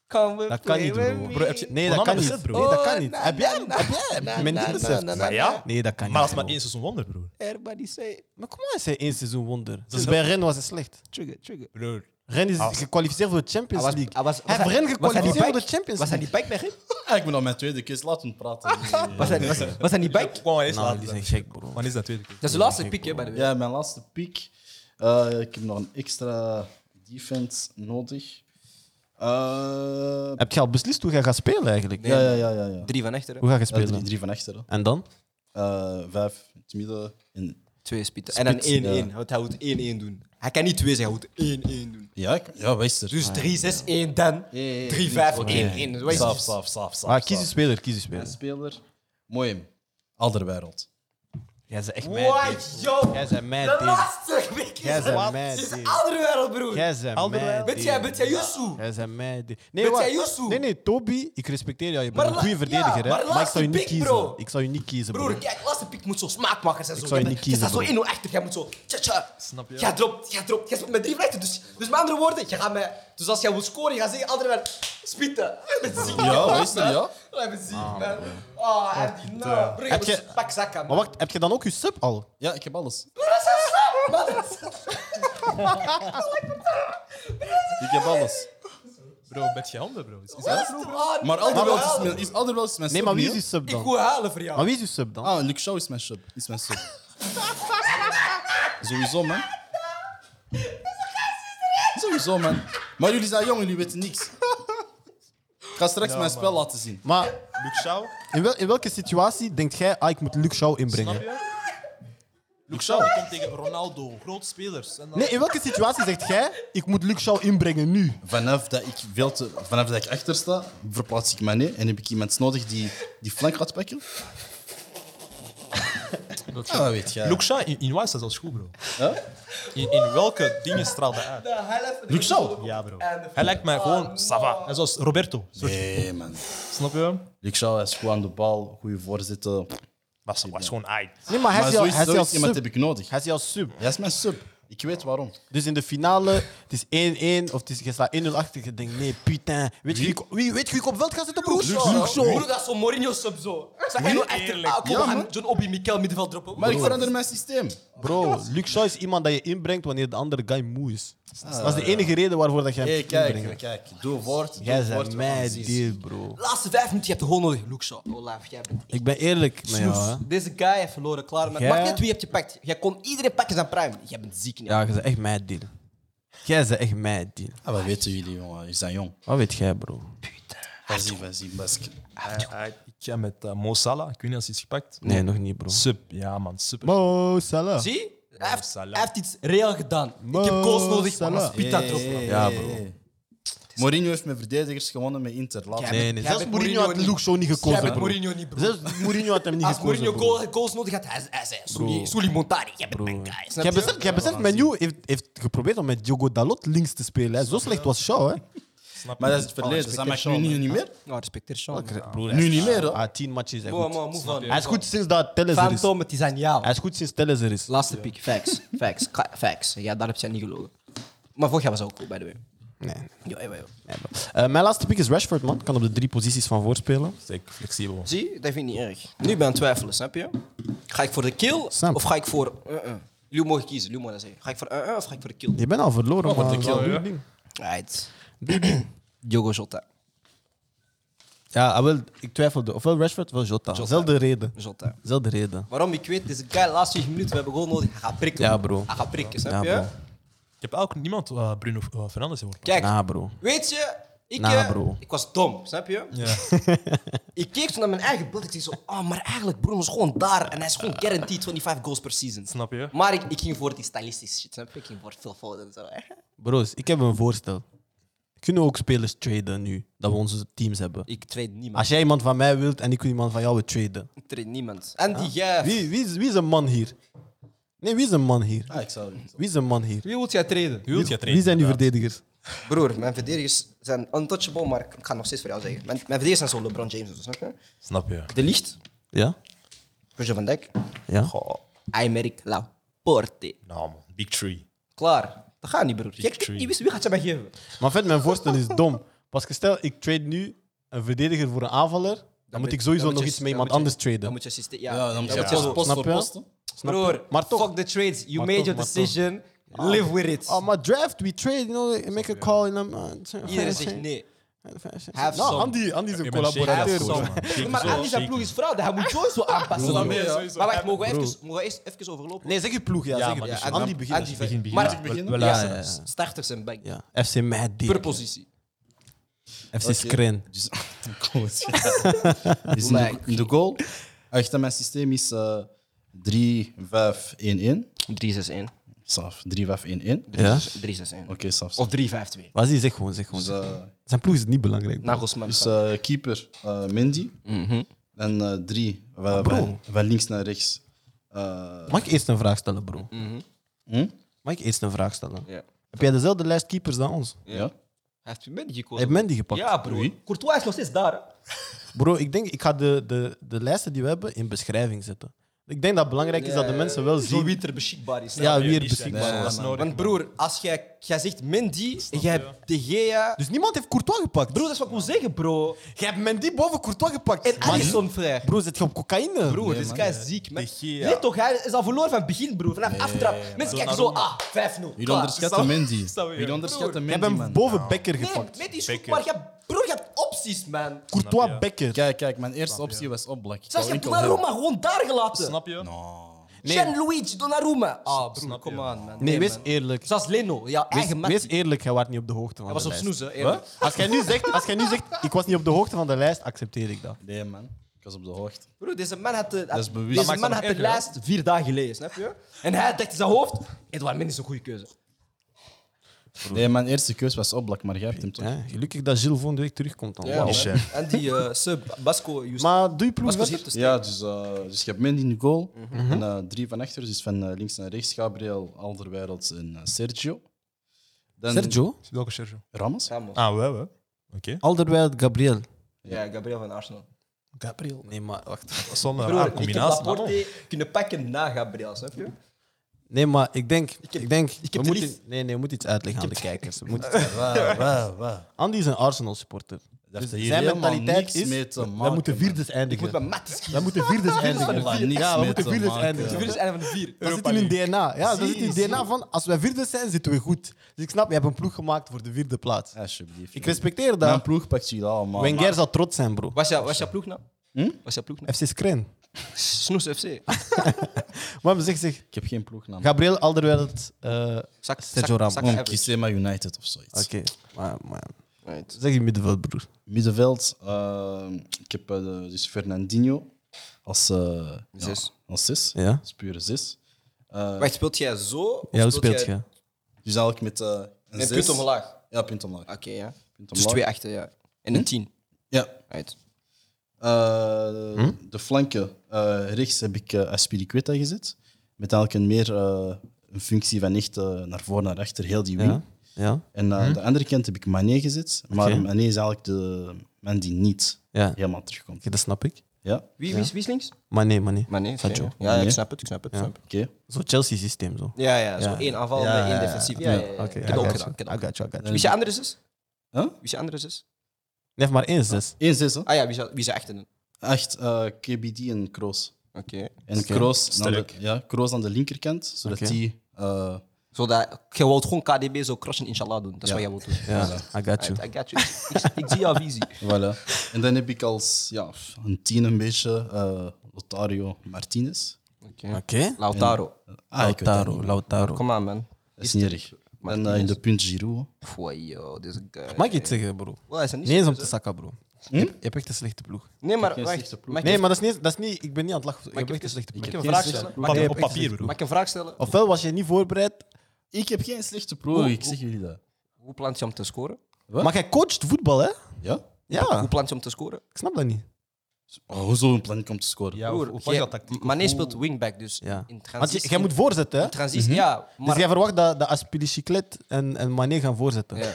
S2: Come with
S1: Dat kan
S2: me,
S1: niet, bro.
S2: baby.
S1: Nee, dat kan niet. Nee,
S2: Oh,
S1: dat kan niet. Heb jij hem? Heb jij hem? Mendy beseft.
S6: Maar ja?
S1: Nee, dat kan niet.
S6: Maar dat is maar
S1: bro.
S6: één seizoen wonder, broer.
S2: Everybody say
S1: Maar kom aan, is hij één seizoen wonder. Dus bij Ren was hij slecht.
S2: trigger, trigger.
S6: Broer.
S1: Ren is gekwalificeerd voor de Champions
S2: Hij Ah, was-
S1: League.
S2: hij was- was
S1: heeft
S2: hij-
S1: Ren
S2: was hij die
S1: gekwalificeerd voor de
S2: bike?
S1: Champions
S2: Was hij
S1: League.
S2: die bike bij hem?
S4: Ah, ik ben al mijn tweede keus. Laat hem praten.
S2: Was hij- was- Was hij die bike?
S6: Kwam wel eens
S1: Nou, die
S6: later.
S1: zijn gek, bro.
S6: Wanneer is dat tweede keer?
S2: Dat is de laatste pick, hè, bij de wereld.
S4: Ja, mijn laatste pick. Eh, ik heb nog een extra defense nodig. Eh,
S1: Heb je al beslist hoe jij gaat spelen eigenlijk?
S4: ja, ja, ja, ja. ja.
S2: Drie van achteren.
S1: Hoe ga je
S4: Ja, drie,
S1: spelen?
S4: drie van achteren.
S1: En dan?
S4: Eh, vijf in het midden. En,
S2: Twee spitten. En dan 1-1.
S4: Spits, ja.
S2: Want hij moet 1-1 doen. Hij kan niet 2 zijn, hij moet 1-1 doen.
S4: ja, ik, ja, wees er.
S2: Dus
S1: Ah,
S2: 3-6-1 dan. 3-5-1-1.
S4: hey,
S2: Dus wat is
S4: Saaf,
S2: het?
S4: saaf, saaf, saaf.
S1: Ah, kies je
S4: saaf.
S1: speler, kies je
S4: Mijn
S1: speler.
S4: speler. Mooi. Alderwereld.
S1: Jij bent echt
S2: What, yo?
S1: Jij bent mij,
S2: De laatste week is
S1: Jij
S2: het.
S1: bent
S2: Wat?
S1: mad,
S2: Dit is een
S1: dude.
S2: andere wereld, broer.
S1: Jij bent mij.
S2: Weet jij, weet jij Yusu?
S1: Jij bent mij. dit.
S2: Met
S1: Nee, wat?
S2: jij Yusu?
S1: Nee, nee, Toby, ik respecteer jou. Je bent
S2: Maar
S1: een
S2: la-
S1: goede
S2: ja,
S1: verdediger, hè?
S2: maar
S1: Maar ik zou je niet
S2: laatste pick, bro.
S1: kiezen. Ik zou je niet kiezen,
S2: Broer,
S1: bro.
S2: kijk, laatste pick moet zo smaakmakers en zo.
S1: Ik zou je
S2: bent-
S1: niet kiezen,
S2: Je staat zo
S1: bro.
S2: 1 achter, jij moet zo. Tja, tja. Snap je? Jij dropt, jij dropt. Jij speelt met drie vlechten. Dus, dus met andere woorden, je gaat mij. Dus als jij wil scoren, je gaat zeggen, andere werd spitten. Met ziek.
S4: Ja, wees er, ja.
S2: Hij bent ziek,
S1: Ah,
S2: man. Oh, hij heeft die nou. Broer, jij
S1: Heb
S2: moet
S1: je-
S2: pak zakken,
S1: Maar
S2: man.
S1: wacht, heb je dan ook je sub al?
S4: Ja, ik heb alles. Ik heb alles.
S3: Bro, ben jij handen, bro? Is- is-
S4: Maar Alderwereld is mijn, is, Alderwereld is mijn sub.
S1: Nee, maar wie is
S4: niet,
S1: je sub
S2: Ik
S1: dan?
S2: wil halen voor
S1: Maar
S2: jou.
S1: wie is je sub dan?
S4: hè? Ah, Luke Shaw is mijn sub. Is mijn sub. Sowieso, man. Sowieso, man. Maar jullie zijn jong, jullie weten niks. Ik ga straks mijn spel laten zien.
S1: Maar
S6: Luke Shaw?
S1: in, wel- in welke situatie denkt jij, ah, ik moet Luke Shaw inbrengen?
S6: Snap je? Luke Shaw die komt tegen Ronaldo, groot spelers. En dan...
S1: Nee, in welke situatie zegt jij, ik moet Luke Shaw inbrengen nu?
S4: Vanaf dat ik, veel te, vanaf dat ik achter sta, verplaats ik mij neer en heb ik iemand nodig die die flank gaat pakken. Ah, wat weet jij.
S6: Luke Shaw in, in Wise is dat goed, bro.
S4: Huh?
S6: In, in welke dingen straalt hij uit?
S4: Luke Shaw?
S6: Ja, bro. Hij lijkt mij gewoon Sava. En zoals Roberto. Zo-
S4: Nee, man.
S6: Snap je?
S4: Luke Shaw hij is goed aan de bal, goede voorzetten.
S6: Was, was gewoon ai.
S1: Nee, maar hij
S4: Maar
S1: is Ah, jouw
S4: zoiets,
S1: hij is jouw
S4: zoiets iemand
S1: sub.
S4: heb ik nodig.
S1: Hij is jouw sub.
S4: Hij is mijn sub. Ik weet waarom.
S1: Dus in de finale, het is 1-1 of het is, je staat 1-0 achter. Je denkt, nee, putain. Weet je wie, ik- wie, weet je wie ik op veld ga zetten, broer?
S2: Luke Broer, Ah, dat is zo'n Mourinho sub zo. Zeg jij nou echt? Ah, Kom,
S4: Ja,
S2: we gaan
S4: man.
S2: John Obi Mikel middenveld droppen.
S4: Maar ik verander mijn systeem.
S1: Bro, Luke Shaw is iemand dat je inbrengt wanneer de andere guy moe is. dat is de enige reden waarvoor dat jij hem
S4: Hé,
S1: moet
S4: kijk,
S1: inbrengen.
S4: kijk. Doe woord. Doe
S1: Jij
S4: woord.
S1: bent mij deal, bro.
S2: Laatste vijf minuten, je hebt de goal nodig. Luke Shaw. Olaf, jij bent
S1: Ik ben eerlijk met jou, hè.
S2: Deze guy heeft verloren, klaar. Maar
S1: Jij-
S2: maakt niet uit wie je hebt gepakt. Jij kon iedereen pakken zijn prime. Jij bent ziek, nee.
S1: Ja, je bent echt mij deal. Jij bent echt mij deal.
S4: Ah, wat weten jullie, jongen? Jullie zijn jong.
S1: Wat weet jij, bro?
S4: Vas-y, vas-y, basket.
S3: Ah, Ik ga met eh, Mo Salah. Ik weet niet als hij is gepakt.
S1: Nee, nog niet, bro.
S3: Sub. Ja, man. Super.
S1: Mo Salah.
S2: Zie? Hij heeft,
S3: Salah.
S2: hij heeft iets reëel gedaan.
S1: Mo
S2: ik heb goals nodig, maar
S1: Salah.
S2: dan spit dat erop.
S1: Ja, bro.
S4: Mourinho heeft met verdedigers gewonnen met Inter. Laat
S2: Jij
S4: me-
S1: Nee,
S2: bent-
S1: nee.
S2: jij
S1: Zelfs
S2: bent
S1: Mourinho had
S2: niet.
S1: Luke Shaw niet
S2: Jij
S1: gekozen,
S2: bent
S1: bro.
S2: Mourinho niet, bro.
S1: Zelfs Mourinho had hem niet
S2: Als Mourinho
S1: gekozen,
S2: goal-
S1: bro.
S2: goals, nodig had, hij, hij zei Souli- Souli Montari. Jij bent mijn guy. Snap
S1: Jij
S2: je?
S1: beseft, jij beseft Menu heeft, heeft geprobeerd om met Diogo Dalot links te spelen. Hè. Zo slecht was Shaw, hè?
S4: Maar dat Oh, is het verleden. dat maakt nu niet, niet meer.
S2: Nou, respecteer Sean.
S4: Nu niet meer, hè?
S1: Ah, tien matches is hij
S2: Moe, moe,
S1: goed.
S2: move on.
S1: Hij is goed sinds dat Telles er is.
S2: Phantom, het is aan jou.
S1: Hij is goed sinds Telles er is.
S2: Laatste pick. Facts. Facts. Ka- Facts. Ja, daar heb je niet gelogen. Maar vorig jaar was hij ook cool, by the way.
S1: Nee.
S2: Yo, yo, yo.
S1: Eh, mijn laatste pick is Rashford, man. Kan op de drie posities van voorspelen.
S3: Zeker flexibel.
S2: Zie, dat vind ik niet erg. Nu ben ik aan het twijfelen, snap je? Ga ik voor de kill
S1: Snap.
S2: of ga ik voor... Uh -uh. Jullie mogen kiezen, jullie mogen dat zeggen. Ga ik voor uh -uh, of ga ik voor de kill?
S1: Je bent al verloren, man.
S3: de kill,
S1: Doe je
S3: ja.
S1: ding.
S2: Right. Diogo Jota.
S1: Ja, ah, wel, ik twijfelde. Ofwel Rashford, ofwel Jota. Zelfde reden.
S2: Jota.
S1: Zelfde reden.
S2: Waarom? Ik weet, deze guy, laatste 20 minuten, we hebben gewoon nodig. Hij gaat prikken.
S1: Ja,
S2: man.
S1: bro.
S2: Hij gaat prikken, snap
S1: Ja,
S2: je?
S1: bro. Nou,
S3: Ik heb ook niemand eh, Bruno eh, Fernandes gehoord.
S2: Kijk,
S1: Nah, bro.
S2: weet je, Ik,
S1: Nah,
S2: eh,
S1: bro.
S2: ik was dom, snap je?
S6: Ja.
S2: Ik keek zo naar mijn eigen beeld. Ik dacht zo, oh, maar eigenlijk Bruno is gewoon daar. En hij is gewoon guaranteed 25 goals per season.
S3: Snap je?
S2: Maar ik, ik ging voor die stylistische shit, snap je? Ik ging voor veel fouten en zo. hè.
S1: Broers, ik heb een voorstel. Kunnen we ook spelers traden nu, dat we onze teams hebben?
S2: Ik trade niemand.
S1: Als jij iemand van mij wilt en ik wil iemand van jou, we traden.
S2: Ik trade niemand. En die jij...
S1: Ah. Wie, wie, is, wie is een man hier? Nee, wie is een man hier?
S4: Ah, ik zou niet.
S1: Wie is een man hier?
S6: Wie wilt jij treden?
S3: Wilt je
S1: Wie zijn uw verdedigers?
S2: Broer, mijn verdedigers zijn untouchable, maar ik ga het nog steeds voor jou zeggen. Mijn, mijn verdedigers zijn zo LeBron James en zo, snap je?
S3: Snap je?
S2: De Licht,
S1: Ja?
S2: Virgil van Dijk,
S1: Ja?
S2: Aymeric Laporte.
S3: Nou, man. Big Tree.
S2: Klaar. Dat gaat niet, broer. Je
S3: Big
S2: kijkt
S3: three.
S2: niet wist wie gaat je mij geven.
S1: Maar vet, mijn voorstel is dom. Pas stel, ik trade nu een verdediger voor een aanvaller, dan, moet
S2: ben-
S1: ik sowieso
S2: dan
S1: nog
S2: moet je-
S1: iets met
S2: dan
S1: iemand
S2: moet je-
S1: anders traden.
S2: Dan moet je systeem... Ja,
S4: Ja, dan moet je
S2: moet
S4: post, post
S1: Snap
S4: voor
S1: je?
S4: post. hè.
S1: Snap je?
S2: Broer,
S1: maar toch.
S2: fuck the trades. You
S1: Maar
S2: made
S1: toch,
S2: your
S1: maar toch.
S2: decision. Live with it.
S1: Oh, maar draft, we trade, you know, make a call in a...
S2: Iedereen zegt nee. Hij heeft
S1: Nou,
S2: zo'n-
S1: Andy, Andy is een
S2: Hij
S1: collaborateur.
S2: heeft
S1: bro.
S2: zo'n- Nee, maar Andy zijn ploeg is fraude. Hij moet Joyce wel aanpassen.
S4: Broer.
S2: broer.
S4: Ja,
S6: sowieso.
S2: Maar wacht, mogen we even, mogen we eerst even overlopen?
S1: Nee, zeg je ploeg, ja.
S3: Ja,
S1: zeg je
S3: maar
S1: ploeg.
S3: dus-
S1: Andy begint.
S2: Andy
S3: Begin, begin.
S2: Maar
S3: Ja,
S2: ik
S3: we-
S4: begin?
S3: we
S2: Ja,
S3: laten-
S2: s- starters en back.
S1: Ja, FC Mad
S2: Per positie.
S1: FC
S4: Oké.
S1: Skrin.
S4: Dus, Kom eens. dus in, de, in de goal. Echt, mijn systeem is eh 3-5-1-1.
S2: 3-6-1.
S4: Saaf, 3-5-1-1.
S1: Ja?
S2: 3-6-1.
S4: Oké, saaf.
S2: Of 3-5-2.
S1: Was die, zeg gewoon, zeg gewoon.
S4: Dus,
S1: zeg.
S4: eh,
S1: Zijn ploeg is niet belangrijk. bro.
S2: Nagelsman.
S4: dus eh, keeper eh Mindy. En eh drie,
S1: Ah,
S4: van, van, van links naar rechts. Eh,
S1: Mag ik eerst een vraag stellen, bro?
S4: hm?
S1: Mag ik eerst een vraag stellen?
S2: Mhm. Ja.
S1: Heb jij dezelfde lijst keepers dan ons?
S4: Ja.
S2: Hij heeft Mendy gekozen.
S1: Heb men die gepakt?
S2: Ja, broer. Courtois is nog steeds daar. hè.
S1: Bro, ik denk, ik ga de, de, de lijsten die we hebben in beschrijving zetten. Ik denk dat het belangrijk is dat de mensen wel
S2: Zo
S1: zien
S2: wie er beschikbaar is.
S1: ja, wie er
S3: die zijn-
S1: beschikbaar
S3: Nee,
S1: is.
S3: dat is nodig.
S2: Want broer, als jij, jij zegt Mendy, en jij hebt De Gea...
S1: Dus niemand heeft Courtois gepakt.
S2: Broer, dat is wat ik wil zeggen, bro.
S1: jij hebt Mendy boven Courtois gepakt.
S2: En Alisson, frère.
S1: Bro, zit je op cocaïne?
S2: Broer,
S4: Nee,
S2: dit
S4: man.
S2: guy is ziek, man.
S3: De Gea.
S2: Nee, toch, hij is al verloren van het begin, broer. Vanaf aftrap. Mensen kijken zo, ah, 5-0.
S4: Jullie onderschatten Mindy.
S2: snap je?
S4: Jullie onderschatten
S1: je
S4: Mindy,
S1: hebt hem
S4: man.
S1: boven Becker
S2: Nou. Nee,
S1: gepakt.
S2: nee, die is goed,
S3: Becker.
S2: maar je, hebt- broer, je hebt opties, man.
S1: Courtois Becker.
S4: Kijk, kijk, mijn eerste optie was opblak. Ik
S2: Zelfs je
S4: wou
S2: hebt
S4: enkel hem.
S2: Donnarumma gewoon daar gelaten.
S3: Snap je?
S1: Nee.
S2: Gianluigi Donnarumma. Ah, broer, kom aan, man.
S1: Nee, wees
S2: man.
S1: eerlijk.
S2: Zelfs Leno, ja,
S1: Wees,
S2: eigen man.
S1: wees
S2: Hij
S1: eerlijk, hij was niet op de hoogte van de
S2: was op
S1: lijst.
S2: snoezen, eerlijk.
S1: Als jij, nu zegt, als jij nu zegt, ik was niet op de hoogte van de lijst, accepteer ik dat.
S4: Nee, man. Ik was op de hoogte.
S2: Broer, deze man had de,
S4: is bewust.
S2: deze
S4: Dat maakt
S2: man
S4: het
S2: had de lijst vier dagen geleden, snap je? En hij dacht in zijn hoofd, Edouard Mendy is een goede keuze.
S4: Nee, mijn eerste keus was opblak, maar jij hebt hem toch.
S1: Ja, gelukkig dat Gilles volgende week terugkomt dan. Wauw.
S2: man. En die eh, sub, Basco, Justin.
S1: Maar doe je ploeg
S2: Basco
S1: verder?
S2: heeft te
S4: Ja, dus, eh, dus je hebt Mendy in de goal.
S1: Mhm.
S4: En eh, drie van achter, dus van eh, links naar rechts. Gabriel, Alderweireld en eh, Sergio. Dan
S1: Sergio?
S3: Welke Sergio?
S4: Ramos?
S2: Samen.
S3: Ah, wel, wel. Oké.
S1: Alderweireld, Gabriel.
S2: Ja, Gabriel van Arsenal.
S1: Gabriel? Nee, maar wacht.
S3: Zonder
S2: Broer,
S3: rare
S2: ik heb
S3: ah, combinatie. maar
S2: Laporte kunnen pakken na Gabriel, snap je?
S1: Nee, maar ik denk... Ik, denk
S2: de
S1: we moeten,
S2: lief-
S1: nee, nee, we moeten iets uitleggen aan de kijkers. We moeten iets-
S4: Waar, waar, waar.
S1: Andy is een Arsenal-supporter. Dus
S4: heeft hier
S1: zijn
S4: helemaal
S1: mentaliteit
S4: niks
S1: is...
S4: mee te
S1: wij
S4: maken,
S1: moeten vierdes
S2: Ik moet
S1: eindigen.
S2: mijn matjes kiezen.
S1: Wij moeten vierdes eindigen.
S4: Voilà, niks
S1: Ja, we
S4: mee
S1: moeten
S4: te
S1: vierdes
S4: maken.
S1: eindigen.
S2: Vier is een van de vier.
S1: Dat zit in hun DNA. Ja, dat zit in het DNA van als wij vierde zijn, zitten we goed. Dus ik snap, je hebt een ploeg gemaakt voor de vierde plaats.
S4: Alsjeblieft.
S1: Ik respecteer
S4: Mijn
S1: dat.
S4: ploeg pakt jullie allemaal.
S1: Wenger zal trots zijn, bro.
S2: Was jouw was jouw ploeg nou?
S4: Hm?
S2: Was jouw ploeg nou?
S1: FC Skrin.
S2: Snoes FC.
S1: Maar zeg, zeg.
S4: Ik heb geen ploegnaam.
S1: Gabriel Alderweireld, eh,
S2: Zak,
S1: Sergio Ramos.
S2: zak-
S4: Gewoon
S2: zak-
S4: Kisema United of zoiets.
S1: Oké, maar, maar
S2: Right.
S1: zeg je middenveld, broer.
S4: Middenveld, eh, ik heb eh, dus Fernandinho als, eh,
S2: Zes.
S4: Ja, als zes.
S1: Ja?
S4: Dat is pure zes. Eh,
S2: Wacht, speelt jij zo? of
S1: Ja, hoe speelt je?
S4: dus eigenlijk met eh, een
S2: Met
S4: zes.
S2: punt omlaag. Oké,
S4: Ja, punt omlaag.
S2: ja.
S4: Punt
S2: Dus
S4: omlaag. Hm?
S2: twee achter, ja. En een tien.
S4: Ja.
S2: Right.
S4: Eh,
S2: Hm?
S4: De flanken. eh, rechts heb ik eh Aspiriqueta gezet. Met eigenlijk een meer eh, een functie van echt eh, naar voor naar achter, heel die wing.
S1: Ja? Ja?
S4: En aan de andere kant heb ik Mané gezet. Maar
S1: Mhm. Oké.
S4: Mané is eigenlijk de man die niet
S1: Ja, oké,
S4: helemaal terugkomt.
S1: dat snap ik.
S4: Ja,
S2: Wie, wie, is, wie is links?
S1: Maar nee, maar nee.
S2: Maar nee,
S1: Sergio.
S2: oké. Ja, ja, ik
S4: Nee.
S2: snap het, ik snap het. ik snap het.
S4: oké.
S1: Zo Chelsea-systeem, zo.
S2: Ja, ja, zo
S1: Ja.
S2: één aanval
S4: Ja,
S2: met één
S4: ja, ja.
S2: defensief. Ja,
S4: Ja,
S2: ja, ja.
S1: Oké,
S2: Ik
S1: I
S2: heb ook
S1: got
S2: gedaan.
S1: you,
S2: ik heb
S1: I
S2: ook
S1: got you, I got
S2: Wie
S1: you.
S2: is je andere zus?
S4: Huh?
S2: Wie is je andere zus?
S1: Nee, maar één zes.
S4: 1-6, hè?
S2: Ah ja, wie is je- wie is je echte?
S4: Echt eh, KBD en Kroos.
S2: Oké.
S4: En
S1: Oké.
S4: Kroos, aan de,
S3: Sterk.
S4: ja, Kroos aan de linkerkant, zodat
S1: Oké.
S4: die... eh,
S2: Zodat je wilt gewoon KDB zo crashen, inshallah doen. Dat is
S4: Ja.
S2: wat jij wilt doen.
S1: Ja, I got you.
S2: Right, I got you. Ik- Ik zie jouw visie.
S4: voilà. En dan heb ik als ja, een tien een beetje eh, Lotario Martinez.
S2: Oké.
S1: Oké?
S2: Lautaro.
S4: Ah, ik weet dat
S1: Lautaro,
S4: niet.
S1: Lautaro.
S2: Kom aan, man.
S4: Dat is niet erg.
S2: Maar
S4: En eh, in de punt Giroud. hè.
S2: Foei, yo, deze guy.
S1: Mag ik iets zeggen, bro?
S2: Wel, hij is er niet
S1: Nee eens
S2: zo-
S1: om te zakken, bro. Je, hebt, je hebt echt een slechte ploeg.
S2: Nee, maar
S4: geen
S2: wacht.
S4: slechte ploeg.
S2: Mag ik
S1: Nee,
S2: een-
S1: maar dat is niet... Dat is niet ik ben niet aan het lachen. Je hebt echt een slechte ploeg.
S2: mag ik een
S4: geen
S2: vraag
S4: slechte
S2: stellen?
S4: ploeg.
S2: Mag ik-
S3: Op papier, bedoel
S2: Mag ik
S3: ik.
S2: een vraag stellen?
S1: Ofwel was je niet voorbereid.
S4: Ik heb geen slechte
S1: Oh,
S4: pro, ik zeg jullie dat.
S2: Hoe plant je om te scoren?
S4: Wat?
S1: Maar jij coacht voetbal, hè?
S4: Ja?
S1: Ja.
S2: Hoe plant je om te scoren?
S1: Ik snap dat niet.
S4: Oh, hoezo een planning om te scoren?
S3: Ja,
S2: Broer,
S3: of, of was
S2: jij-
S3: dat tactiek? of
S2: Mané
S3: hoe-
S2: speelt wingback, dus
S1: Ja.
S2: in transitie...
S1: Want je- jij moet voorzetten, hè?
S2: in transitie, ja.
S1: Dus
S2: Maar,
S1: jij verwacht dat, dat Aspili Chiclet en, en Mané gaan voorzetten?
S2: Ja.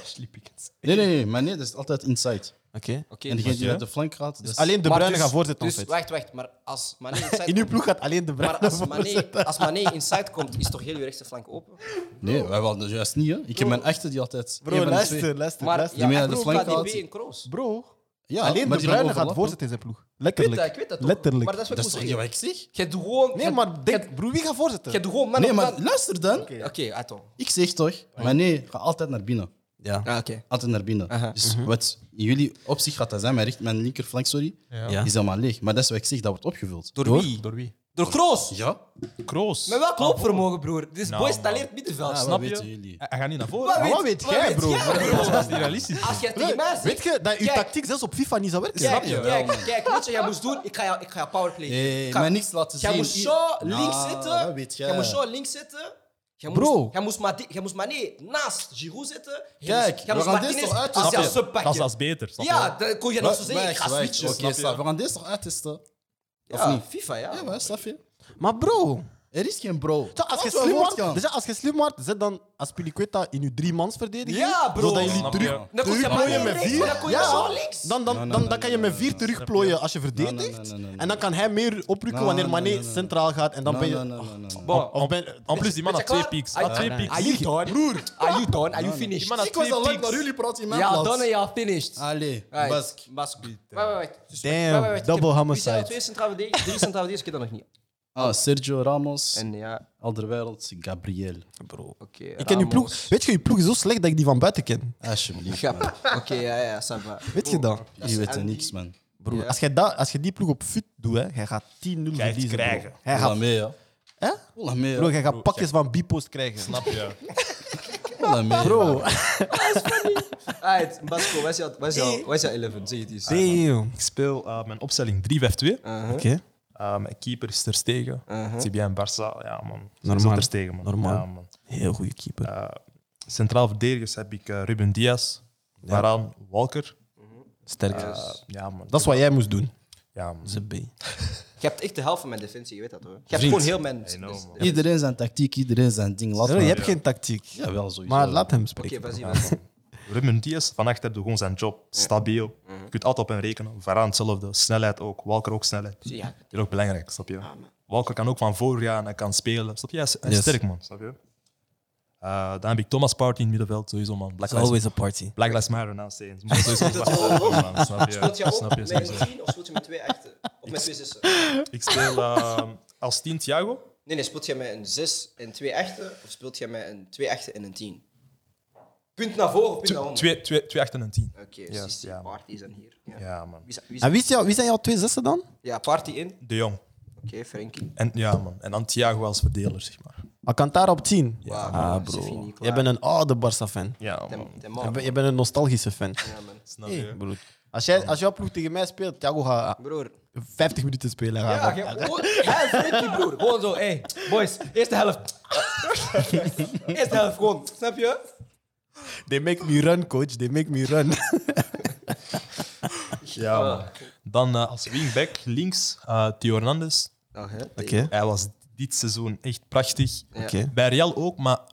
S4: Nee, nee, nee, maar nee, dat is altijd inside.
S1: Oké.
S2: Oké,
S4: En
S2: dus-
S4: degene die uit de flank gaat, dat
S1: Dus
S4: is-
S1: alleen De
S2: maar
S1: Bruyne
S2: dus-
S1: gaat voorzetten.
S2: Dus
S1: altijd.
S2: wacht, wacht. Maar als Mané
S1: In
S2: inside,
S1: uw ploeg gaat alleen De
S2: maar
S1: Bruyne
S2: als
S1: voorzetten.
S2: Mané, als Mané inside komt, is toch heel je rechtse flank open?
S4: Nee, wij waren dat juist niet, hè. Ik heb mijn echte die altijd... één
S1: Oh. Bro,
S4: van de twee-
S1: luister, luister,
S2: Maar
S1: luister.
S2: ja,
S4: Die meer
S2: ik
S4: aan de
S2: bedoel,
S4: flank
S2: KDB
S4: houdt.
S2: en Kroos.
S1: Bro,
S4: Ja,
S1: alleen
S4: maar
S1: De
S4: die
S1: Bruyne
S4: gaan
S1: gaat
S4: overlappen.
S1: voorzetten in zijn ploeg.
S2: Ik weet dat, ik
S1: Letterlijk.
S2: weet dat toch.
S1: Letterlijk.
S2: Maar dat is wat
S4: Dat
S2: ik
S4: is
S2: moet
S4: toch niet wat
S2: zeggen.
S4: ik zeg?
S2: Je doet gewoon...
S1: Nee, maar denk, broer, wie gaat
S2: Je
S1: voorzetten?
S2: doet gewoon man
S4: Nee,
S2: op
S4: maar
S2: man.
S4: luister dan.
S2: Oké, attends.
S4: Ik zeg toch, maar nee, ga altijd naar binnen.
S1: Ja.
S2: Ah, oké.
S4: Altijd naar binnen.
S2: Aha.
S4: Dus
S1: mhm.
S4: wat in jullie opzicht gaat dat zijn, mijn, recht, mijn linkerflank, sorry,
S1: Ja.
S4: is helemaal leeg. Maar dat is wat ik zeg, dat wordt opgevuld.
S2: Door, wie?
S3: Door wie?
S2: Door Kroos.
S4: Ja?
S3: Kroos.
S2: Met welk loopvermogen, broer? Dit is
S3: Nou,
S2: boy
S3: man.
S2: staleert middenveld.
S4: Ah,
S3: Snap
S4: Wat weten
S3: je?
S4: jullie?
S3: Hij hij gaat niet naar voren.
S2: Wat Ah,
S1: Maar wat
S2: weet-
S1: weet jij,
S2: weet
S1: bro?
S3: Dat is niet realistisch.
S2: Als jij tegen mij
S1: Weet, weet
S2: zegt...
S1: je dat uw
S2: Kijk.
S1: tactiek zelfs op FIFA niet zou werken?
S2: Kijk,
S4: je wel,
S2: kijk,
S4: man.
S2: kijk, weet je wat jij moest doen? Ik ga jou, ik ga jou powerplay.
S4: Hey,
S2: Ik ga-
S4: Eh, maar niks laten
S2: Jij
S4: zien.
S2: moest
S4: I-
S2: zo
S4: Nou,
S2: links
S4: dat
S2: zitten.
S4: weet
S2: jij.
S4: jij.
S2: moest zo links zitten. Jij
S1: Bro.
S2: Moest, jij moest maar, di- jij moest maar nee, naast Giroud zitten. Jij
S4: Kijk,
S2: moest-
S4: we
S2: jij moest
S4: gaan
S2: maar
S4: dit
S2: ineens
S4: toch uit-
S2: als
S4: snap
S2: jouw
S4: je?
S2: sub
S3: Dat is
S2: pakken.
S3: als beter. snap je?
S2: Ja, dan kon je nog zo
S4: Wa-
S2: zeggen, ik ga
S4: wacht, wacht,
S2: switchen.
S4: Oké, sta- we gaan deze toch uittesten.
S2: Ja,
S4: niet?
S2: FIFA, ja.
S4: Ja, maar snap je?
S1: Maar bro,
S4: Er is geen bro.
S1: zo, als, je
S4: Laten we
S1: slim wordt,
S4: voortgaan.
S1: dus ja, als je slim wordt, zet dan Aspilicueta in uw driemansverdediging.
S2: Ja, bro.
S1: Zodat jullie
S3: Snap
S1: terug...
S3: je?
S2: Dan kon je maar
S1: Terugplooien
S2: één
S1: met
S2: rechts,
S1: vier.
S2: dan kon je zo links.
S1: Dan, dan,
S4: Nee, nee,
S1: dan,
S4: nee,
S1: dan kan je met vier terugplooien als je
S4: Nee, nee,
S1: verdedigt.
S4: nee, nee, nee.
S1: En dan kan hij meer oproepen
S4: Nee,
S1: wanneer
S4: nee,
S1: Mané
S4: nee, nee, nee.
S1: centraal gaat. En dan
S4: Nee,
S1: ben je...
S4: nee, nee, nee, nee.
S2: Bon.
S1: Of ben,
S3: En plus, oh, die man
S2: Ben
S3: had
S2: je
S3: twee
S2: klaar?
S3: pieks. Had
S2: Ah,
S3: twee
S2: ah,
S3: pieks.
S2: Are you done? Broer. Are you done? Are you finished?
S3: Die man had
S4: Ik was
S3: twee
S4: al lang naar
S3: pieks.
S4: jullie praten in mijn
S2: Ja,
S4: plaats.
S2: dan en je are finished.
S4: Allee,
S2: Right.
S4: Ah, Bask.
S2: Bask. Wacht, wacht, wacht. Dus-
S1: Damn,
S2: wacht, wacht, wacht. Ik
S1: double
S2: heb-
S1: homicide.
S2: Wie zijn er twee centrale verdedigers? Drie centrale verdedigers, ik heb dat nog niet.
S4: Ah, Sergio Ramos,
S2: En ja,
S4: Alderweireld, Gabriel.
S1: Bro.
S2: oké.
S1: Ik ken je
S2: Ramos.
S1: ploeg. Weet je, je ploeg is zo slecht dat ik die van buiten ken.
S4: Alsjeblieft,
S2: Gap.
S4: man.
S2: Oké, ja, ja, ça va.
S1: Weet je dat?
S4: Je weet er niks, man.
S1: Bro,
S2: Ja.
S1: als, jij dat, als je die ploeg op fut doet, hè, jij gaat 10-0
S3: gaat
S1: verliezen.
S3: iets
S1: bro.
S3: krijgen.
S1: Hij
S4: Hola
S1: gaat,
S4: mee, ja.
S1: hè?
S4: Hola mee,
S1: Bro,
S4: ja.
S1: jij gaat pakjes van Bipost krijgen.
S3: Snap je?
S4: Hola mee.
S1: Bro,
S2: Alright, Ah, Basco, waar is jouw- waar is jouw- waar is jouw 11? Zeg het eens.
S1: damn.
S3: Ik speel eh, mijn opstelling 3-5-2.
S1: Oké,
S3: Eh, mijn keeper is Ter Stegen. CBN Barça. Ja, man.
S1: Normaal.
S3: Normaal. Ter Stegen, man.
S1: Normaal.
S3: Ja, man.
S1: heel goede keeper.
S3: Centraal verdedigers heb ik eh, Ruben Diaz, Varaan, Walker.
S1: Sterk.
S3: Eh, ja, man.
S1: dat is wat jij moest doen.
S3: Ja, man.
S1: Ze B.
S2: Je hebt echt de helft van mijn defensie, je weet dat hoor. Je hebt
S4: Vriend.
S2: gewoon heel mijn... dus-
S3: know, nou, man.
S2: Oké,
S4: Iedereen zijn tactiek, iedereen zijn ding. Laat
S1: Bro, je
S4: maar.
S1: hebt geen tactiek.
S4: Ja, wel sowieso.
S1: Maar laat hem spreken.
S2: Basie, Basie.
S3: Ruben Diaz, vannacht heb je gewoon zijn job. Stabiel.
S2: Mhm.
S3: Je kunt altijd op hem rekenen. Varaan hetzelfde. Snelheid ook. Walker ook snelheid.
S2: Ja.
S3: Dat is ook belangrijk, snap je? Walker kan ook van voor gaan. Hij kan spelen. Snap je? Hij is, hij is
S1: Yes.
S3: sterk, man. Snap je? Eh, dan heb ik Thomas Partey in het middenveld. Sowieso, man. Black
S1: It's
S3: Lives,
S1: always a party.
S3: Black Lives Matter naast zijn. Ze moeten sowieso Black Lives Matter, man. Snap je?
S2: Speelt je ook
S3: Snap je?
S2: met
S3: Sowieso.
S2: tien of speelt je met twee echten? Of met twee zussen?
S3: Ik speel eh, als tien Thiago.
S2: Nee, nee, speelt jij met een zes en twee echten? Of speelt jij met een twee echten en een tien? Punt naar voren of punt naar onder?
S3: Twee, twee, twee achten en tien.
S2: Oké,
S3: Ja,
S2: dus die
S3: ja.
S2: party is dan hier. Ja,
S3: Ja, man.
S2: Wie is- wie is-
S1: En wie, is jou, wie zijn jouw twee zussen dan?
S2: ja party in. Oké,
S3: De Jong.
S2: Frenkie.
S3: En, ja, man. En dan Thiago als verdeler, zeg maar.
S1: Alcantara op 10.
S2: Ja,
S1: ah, bro. Jij bent een oude Barça-fan.
S3: Ja, man.
S2: een...
S1: Je bent- Je bent een nostalgische fan.
S2: Ja, man.
S3: Snap je?
S1: Bro. Als, jij, als jouw ploeg tegen mij speelt, Thiago gaat
S2: Broer.
S1: 50 minuten spelen. Hij
S2: Ja,
S1: gaat-
S2: ja, gewoon- hij en Frenkie, broer. Gewoon zo, hey, boys, eerste helft. eerste helft, gewoon, snap je?
S1: They make me run, coach. They make me run.
S3: Ja,
S2: Ah.
S3: man. Dan eh, als wingback links, eh Theo Hernandez.
S1: Oké.
S3: Hij was dit seizoen echt prachtig.
S1: Oké.
S3: Bij Real ook, maar hij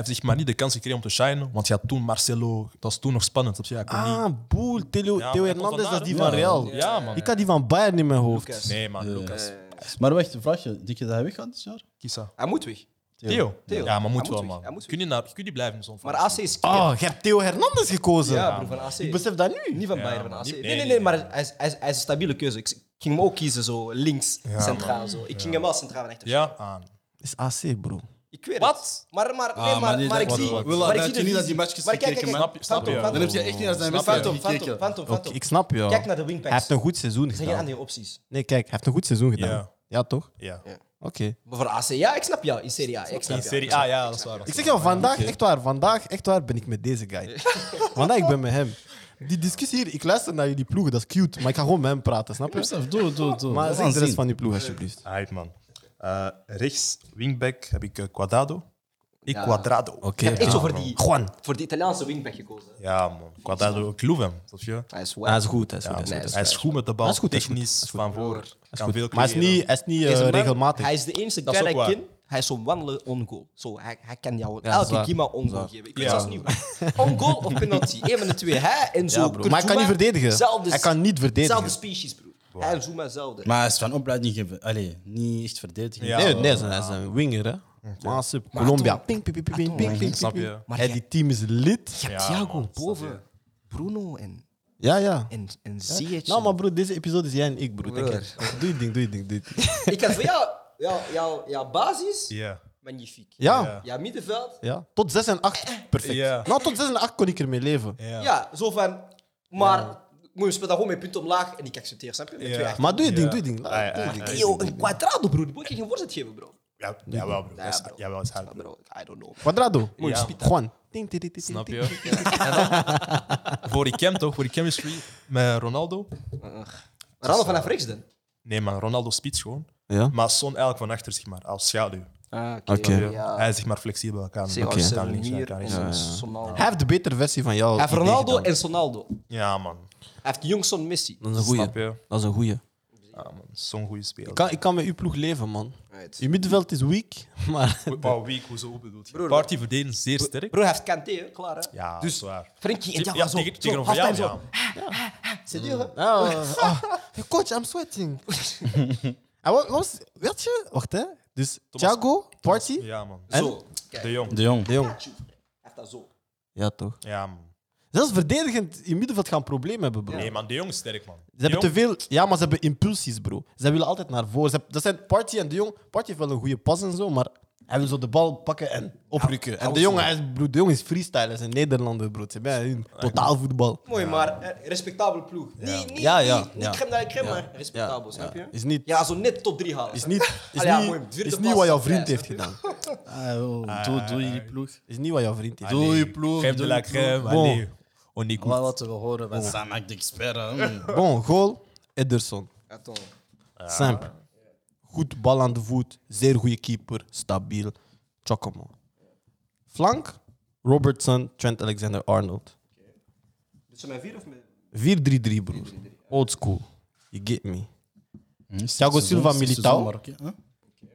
S3: heeft zich maar niet de kans gekregen om te shinen. Want ja, toen Marcelo, dat was toen nog spannend. snap je? Hij kon niet-
S1: Ah, boel. Theo,
S3: Ja,
S1: Theo
S3: hij komt
S1: Hernandez, dat is die van
S3: vandaar, hè?
S1: Real.
S3: Ja, man.
S1: Ik had die van Bayern in mijn hoofd.
S2: Lucas.
S3: Nee, man, Lucas.
S4: Maar wacht, een vraagje. Denk je dat hij weggaat dit jaar?
S3: Kisa.
S2: Hij moet weg.
S3: Theo.
S2: Theo.
S3: Ja, maar moet
S2: Hij
S3: wel,
S2: moet weg, hij
S3: man.
S2: moet
S3: Kun je, naar, kun je niet blijven in zo'n
S2: Maar
S3: fase?
S2: AC is keeper.
S1: Oh, je hebt Theo Hernandez gekozen.
S2: ja, broer, van AC.
S1: Ik besef dat nu.
S2: Niet van
S3: Ja,
S2: Bayern, van
S3: man,
S2: AC.
S3: niet-
S2: Nee,
S3: nee,
S2: nee, nee,
S3: nee,
S2: maar hij is, hij, is, hij is een stabiele keuze. Ik ik ging hem ook kiezen, zo links, centraal. Zo. Ik ging hem wel centraal en achter.
S3: Ja, Ah, aan.
S1: is AC, bro.
S2: Ik weet Wat? Maar, maar, nee, maar,
S4: maar
S2: maar,
S4: nee,
S2: ik
S4: dat-
S2: zie...
S4: wat- wat-
S2: maar ik
S4: wat-
S2: zie de
S4: niet dat
S2: visie.
S4: die matches
S2: Maar kijk,
S4: gekeken,
S2: kijk,
S4: man.
S2: kijk,
S3: Snap je?
S2: Phantom,
S3: Dan
S4: Dan heb je
S2: Phantom.
S4: echt niet naar zijn best
S2: Phantom,
S4: gekeken.
S2: Phantom, Phantom,
S1: Oké,
S2: Phantom.
S1: ik snap je.
S2: Kijk naar de wingpacks.
S1: Hij heeft een goed seizoen
S2: Er zijn geen
S1: gedaan.
S2: andere opties.
S1: Nee, kijk, hij heeft een goed seizoen gedaan.
S3: Ja.
S1: Ja, toch?
S3: Ja.
S2: Maar voor AC, ja, ik snap jou. In Serie A, ik snap
S3: In
S2: jou.
S3: Serie A, ja, dat is waar. dat is
S1: Ik zeg jou, vandaag, echt waar, vandaag, echt waar ben ik met deze guy. vandaag ik ben met hem. Die discussie hier, ik luister naar jullie ploegen, dat is cute, maar ik ga gewoon met hem praten, snap je?
S4: Stef, doe, doe, doe.
S1: Maar
S4: We
S1: zeg
S4: gaan
S1: de rest
S4: zien.
S1: van die ploeg, alsjeblieft.
S3: waar. Aight, man. Eh, rechts, wingback, heb ik eh, Quadrado. Ik
S2: Ja.
S3: Quadrado.
S1: Oké.
S2: Ik heb echt zo voor die,
S1: Ah, Juan.
S2: voor die Italiaanse wingback gekozen.
S3: Ja, man. Quadrado, ik loef hem. snap je?
S2: Hij is
S1: Hij
S2: wack.
S1: is goed, hij is goed. hij
S3: Ja,
S1: is goed.
S2: nee, dat is
S3: hij is goed met de bal,
S1: Dat is goed, dat is goed.
S3: technisch, van voor. Kan veel
S1: Maar hij is
S3: creëren.
S1: niet, hij is niet eh,
S2: Deze man,
S1: regelmatig.
S2: Hij is de enige
S3: Dat
S2: guy
S3: is
S2: dat ik
S3: ook waar.
S2: ken. Hij is zo'n wandelen on-goal. Zo, hij, hij kan jou
S1: Ja, dat is
S2: elke
S1: waar.
S2: keer maar on-goal geven. Ik weet
S3: Ja.
S2: zelfs niet hoe. On-goal of penalty? Eén van de twee. Hij en zo.
S1: Ja, bro. Maar hij kan niet verdedigen. Hij kan niet verdedigen.
S2: Zelfde species, broer. Hij en Zuma zelfde.
S4: Maar hij is van opleiding geven. Allee, niet echt verdedigen.
S3: Ja.
S1: Nee, nee, hij is een winger, hè. Maar ze- Colombia. Ping, ping, ping, ping, ping, ping, ping.
S3: Snap je?
S2: Maar
S1: Hey,
S2: jij-
S1: die team is lit.
S2: Je hebt
S3: Ja,
S2: Thiago
S3: man,
S2: boven Bruno en,
S1: Ja, ja.
S2: en, en Ziyech.
S1: Nou, maar broer, deze episode is jij en ik, broer. Denk
S2: Broer.
S1: ik. Doe je ding, doe je ding, doe je ding.
S2: Ik heb voor jou, jou, jou, jouw basis,
S3: Ja.
S2: magnifiek.
S1: Ja,
S2: Jouw middenveld,
S1: ja. Tot 6 en 8, perfect.
S3: Ja.
S1: Nou, tot 6 en 8 kon ik ermee leven.
S3: Ja.
S2: ja, zo van... Maar moet je spelen gewoon met punten omlaag en ik accepteer, snap je? Met
S3: Ja.
S2: twee achter.
S1: Maar doe je ding,
S3: Ja.
S1: doe je ding. Laat-
S3: Ja, ja,
S1: doe je
S3: ja,
S1: ding.
S3: ja.
S2: Yo, een quadrado, broer. Die moet je geen voorzet geven, bro.
S3: Ja, jawel, bro. Dat is-
S2: bro.
S3: Jawel, is hard,
S2: Ah,
S3: bro.
S2: bro, I don't know.
S1: Quadrado.
S3: Mooi,
S1: Ja.
S3: spita.
S1: Juan. Ding, ding, ding, ding,
S3: Snap
S1: ding,
S3: je? En dan, voor die chem toch, voor die chemistry met Ronaldo.
S2: Ralf vanaf rechts dan?
S3: Nee, man, Ronaldo spits gewoon.
S1: ding. Ja?
S3: Maar Son eigenlijk van achter, zeg maar, als schaduw.
S2: Ah,
S1: Oké. Ja.
S3: Hij is zeg maar flexibel. Hij Kan,
S2: CR7
S3: hij kan links, hij
S2: hier
S3: kan
S2: en
S3: rechts. Ja,
S2: Sonaldo.
S1: Hij heeft de betere versie van jou.
S2: Hij heeft Ronaldo
S1: idee gedaan.
S2: en Sonaldo. Hij
S3: man.
S2: heeft Jongson Messi.
S1: Dat is een
S3: Snap
S1: goeie.
S3: je?
S1: Dat is een goeie.
S3: Ja, man. Zo'n goede speler.
S1: Ik kan, ik kan met uw ploeg leven, man.
S2: Right.
S1: Uw middenveld is weak, maar...
S3: Wow, week, hoezo bedoelt je?
S2: Broer,
S3: Party verdedigen zeer sterk.
S2: Bro, hij heeft Kanté, hè, klaar hè?
S3: Ja,
S2: Dus-
S3: dus, zwaar.
S2: Frenkie en
S3: ja,
S2: Thiago, zo.
S3: tegen-
S2: zo,
S3: tegenover jou,
S2: halftime zo.
S3: ja.
S2: C'est dur, hè?
S1: Oh, coach, I'm sweating. en wat, wat was, weet je, wacht hè. Dus Thiago, Party,
S3: Ja, man.
S1: En?
S2: Zo. Kijk.
S3: De Jong.
S4: De jong.
S1: De Jong.
S2: Hij heeft dat zo.
S1: Ja, toch.
S3: Ja, man.
S1: Zelfs verdedigend in middenveld gaan problemen hebben, bro.
S3: Nee, man, De Jong is sterk, man.
S1: Ze hebben te veel, ja, maar ze hebben impulsies, bro. Ze willen altijd naar voren. Ze hebben- dat zijn Party en De Jong. Party heeft wel een goede pas en zo, maar hij wil zo de bal pakken en oprukken. en De Jong, hij is, bro, de Jong is freestyle, hij is een Nederlander, bro. Ze hebben totaal voetbel.
S2: Mooi, maar eh, respectabel ploeg. Niet, niet,
S1: Ja, ja,
S2: niet, niet
S1: ja.
S2: crème naar crème,
S1: Ja.
S2: maar respectabel,
S1: Ja,
S2: snap
S1: ja.
S2: je?
S1: Is niet-
S2: Ja, zo net top 3 halen.
S1: Is niet, is
S2: Ah ja, mooi,
S1: niet,
S2: vierde
S1: is niet
S2: pas,
S1: wat jouw
S2: ja,
S1: vriend heeft
S2: snap je?
S1: gedaan.
S4: Ah, joh, doe, doe je ploeg.
S1: Is niet wat jouw vriend heeft gedaan.
S4: Doe je ploeg.
S3: Crème de
S4: doe
S3: la
S4: je ploeg.
S3: crème.
S1: dus Bon.
S3: Allee. On écoute.
S4: Wat wat we horen, wij zijn eigenlijk de expert. hè, man.
S1: Bon, goal, Ederson.
S2: Attends.
S1: Simp. Goed bal aan de voet, zeer goede keeper, stabiel. Chocomo. Flank, Robertson, Trent Alexander-Arnold.
S2: Dus zijn mijn vier of mijn...
S1: 4-3-3, broer. Old school. You get me.
S4: Hm, is
S1: Thiago
S4: dit seizoen-
S1: Silva,
S4: is dit
S1: Militao.
S4: seizoen Marokko, hè?